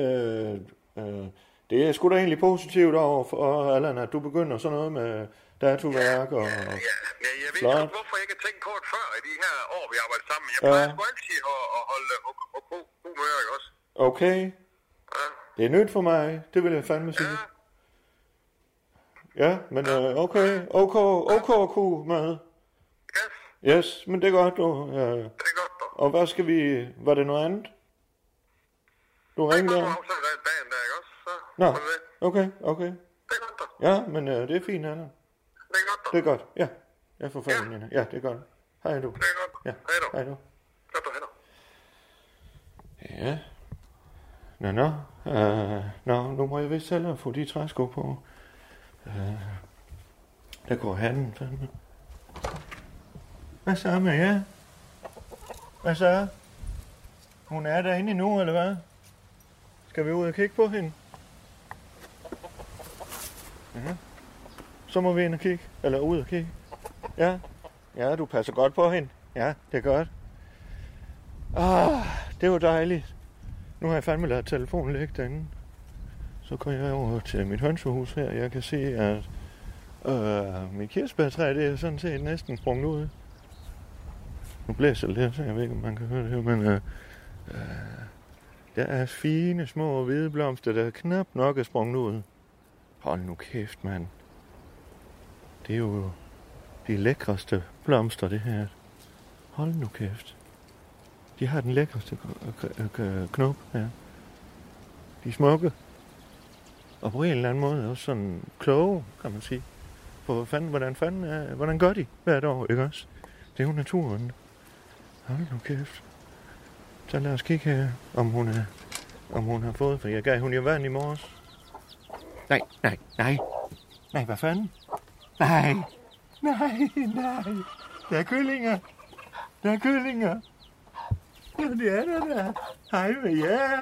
C: øh, det er sgu da egentlig positivt over for Allan, at du begynder sådan noget med datoværk og...
I: Ja, jeg ved
C: Flot.
I: ikke, hvorfor jeg ikke har tænkt på det før i de her år, vi arbejder sammen. Jeg
C: Ja.
I: plejer sgu altid at, at holde og, og god, god møder, ikke også?
C: Okay. Det er nyt for mig, det vil jeg fandme sige. Ja, men øh, okay, okay, okay, okay, mad. Yes, men det er godt, du. Øh. Det er
I: godt,
C: Og hvad skal vi... Var det noget andet? Du ringer der?
I: Så er der dagen der, ikke også? Så,
C: Nå,
I: så er det.
C: okay, okay. Ja, men øh, det er fint, Anna.
I: Det er godt,
C: Det er godt, ja. Jeg får fanden, Nina. Ja, det er godt. Hej du. Det
I: er godt.
C: Ja.
I: Hej du.
C: Hej du.
I: Godt, du hænder.
C: Ja. Nå, nå. Øh, nå, nu må jeg vist selv få de træsko på. Øh, der går handen fandme. Hvad så med jer? Hvad så? Hun er derinde nu, eller hvad? Skal vi ud og kigge på hende? Ja. Så må vi ind og kigge. Eller ud og kigge. Ja. Ja, du passer godt på hende. Ja, det er godt. Ah, det var dejligt. Nu har jeg fandme lavet telefonen ligge derinde. Så går jeg over til mit hønsehus her. Jeg kan se, at øh, mit kirsebærtræ, det er sådan set næsten sprunget ud. Nu blæser det lidt, så jeg ved ikke, om man kan høre det her, men øh, øh, der er fine små hvide blomster, der knap nok er sprunget ud. Hold nu kæft, mand. Det er jo de lækreste blomster, det her. Hold nu kæft. De har den lækreste k- k- k- knop her. De er smukke. Og på en eller anden måde også sådan kloge, kan man sige. For fanden, hvordan, fanden er, hvordan gør de hvert år, ikke også? Det er jo naturen. Hold nu kæft. Så lad os kigge her, om hun, er, om hun har fået, for jeg gav hun jo vand i morges. Nej, nej, nej. Nej, hvad fanden? Nej. Nej, nej. Der er kyllinger. Der er kyllinger. Ja, det er der da. Hej med jer.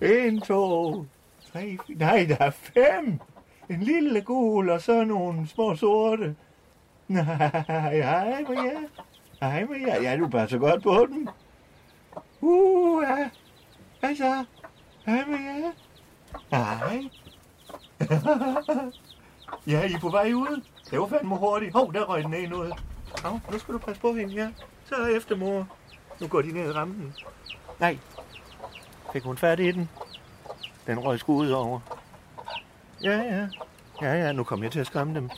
C: En, to, tre, fire. Nej, der er fem. En lille gul og så nogle små sorte. *laughs* Nej, hej med jer. Hej med jer. Ja, du passer godt på dem. Uh, ja. Hvad så? Hej med jer. Nej. *laughs* ja, I er på vej ud. Det var fandme hurtigt. Hov, der røg den ene ud. Hov, nu skal du passe på hende, ja. Så er efter mor. Nu går de ned i rampen. Nej. Fik hun fat i den? Den røg sgu ud over. Ja, ja. Ja, ja, nu kom jeg til at skræmme dem.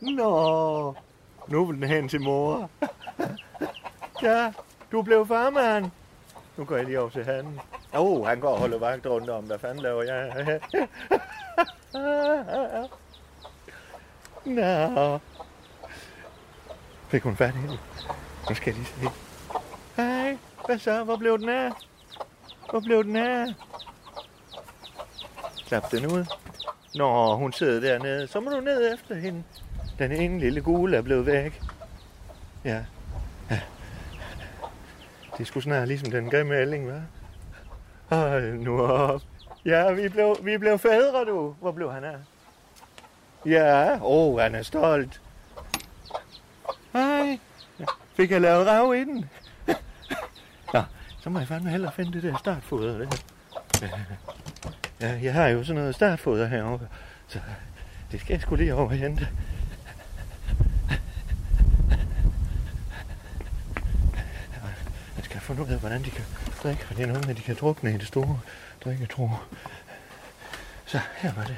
C: Nå, nu vil den hen til mor. *laughs* ja, du blev farmand. Nu går jeg lige over til handen. Åh, oh, han går og holder vagt rundt om. Hvad fanden laver jeg? *laughs* Nå. Fik hun fat i hende? Nu skal jeg lige se. Hej, hvad så? Hvor blev den af? Hvor blev den af? Klap den ud. Nå, hun sidder dernede. Så må du ned efter hende. Den ene lille gule er blevet væk. Ja. Det skulle snart ligesom den gav med Elling, hva'? Hold nu op. Ja, vi blev, vi blev fædre, du. Hvor blev han af? Ja, åh, oh, han er stolt. Hej. Fik jeg lavet rav i den? Nå, så må jeg fandme hellere finde det der startfoder. Det. Ja, jeg har jo sådan noget startfoder herovre, så det skal jeg skulle lige over og hente. Jeg skal finde ud af, hvordan de kan drikke, for det er noget med, at de kan drukne i det store drikketro. Så her var det.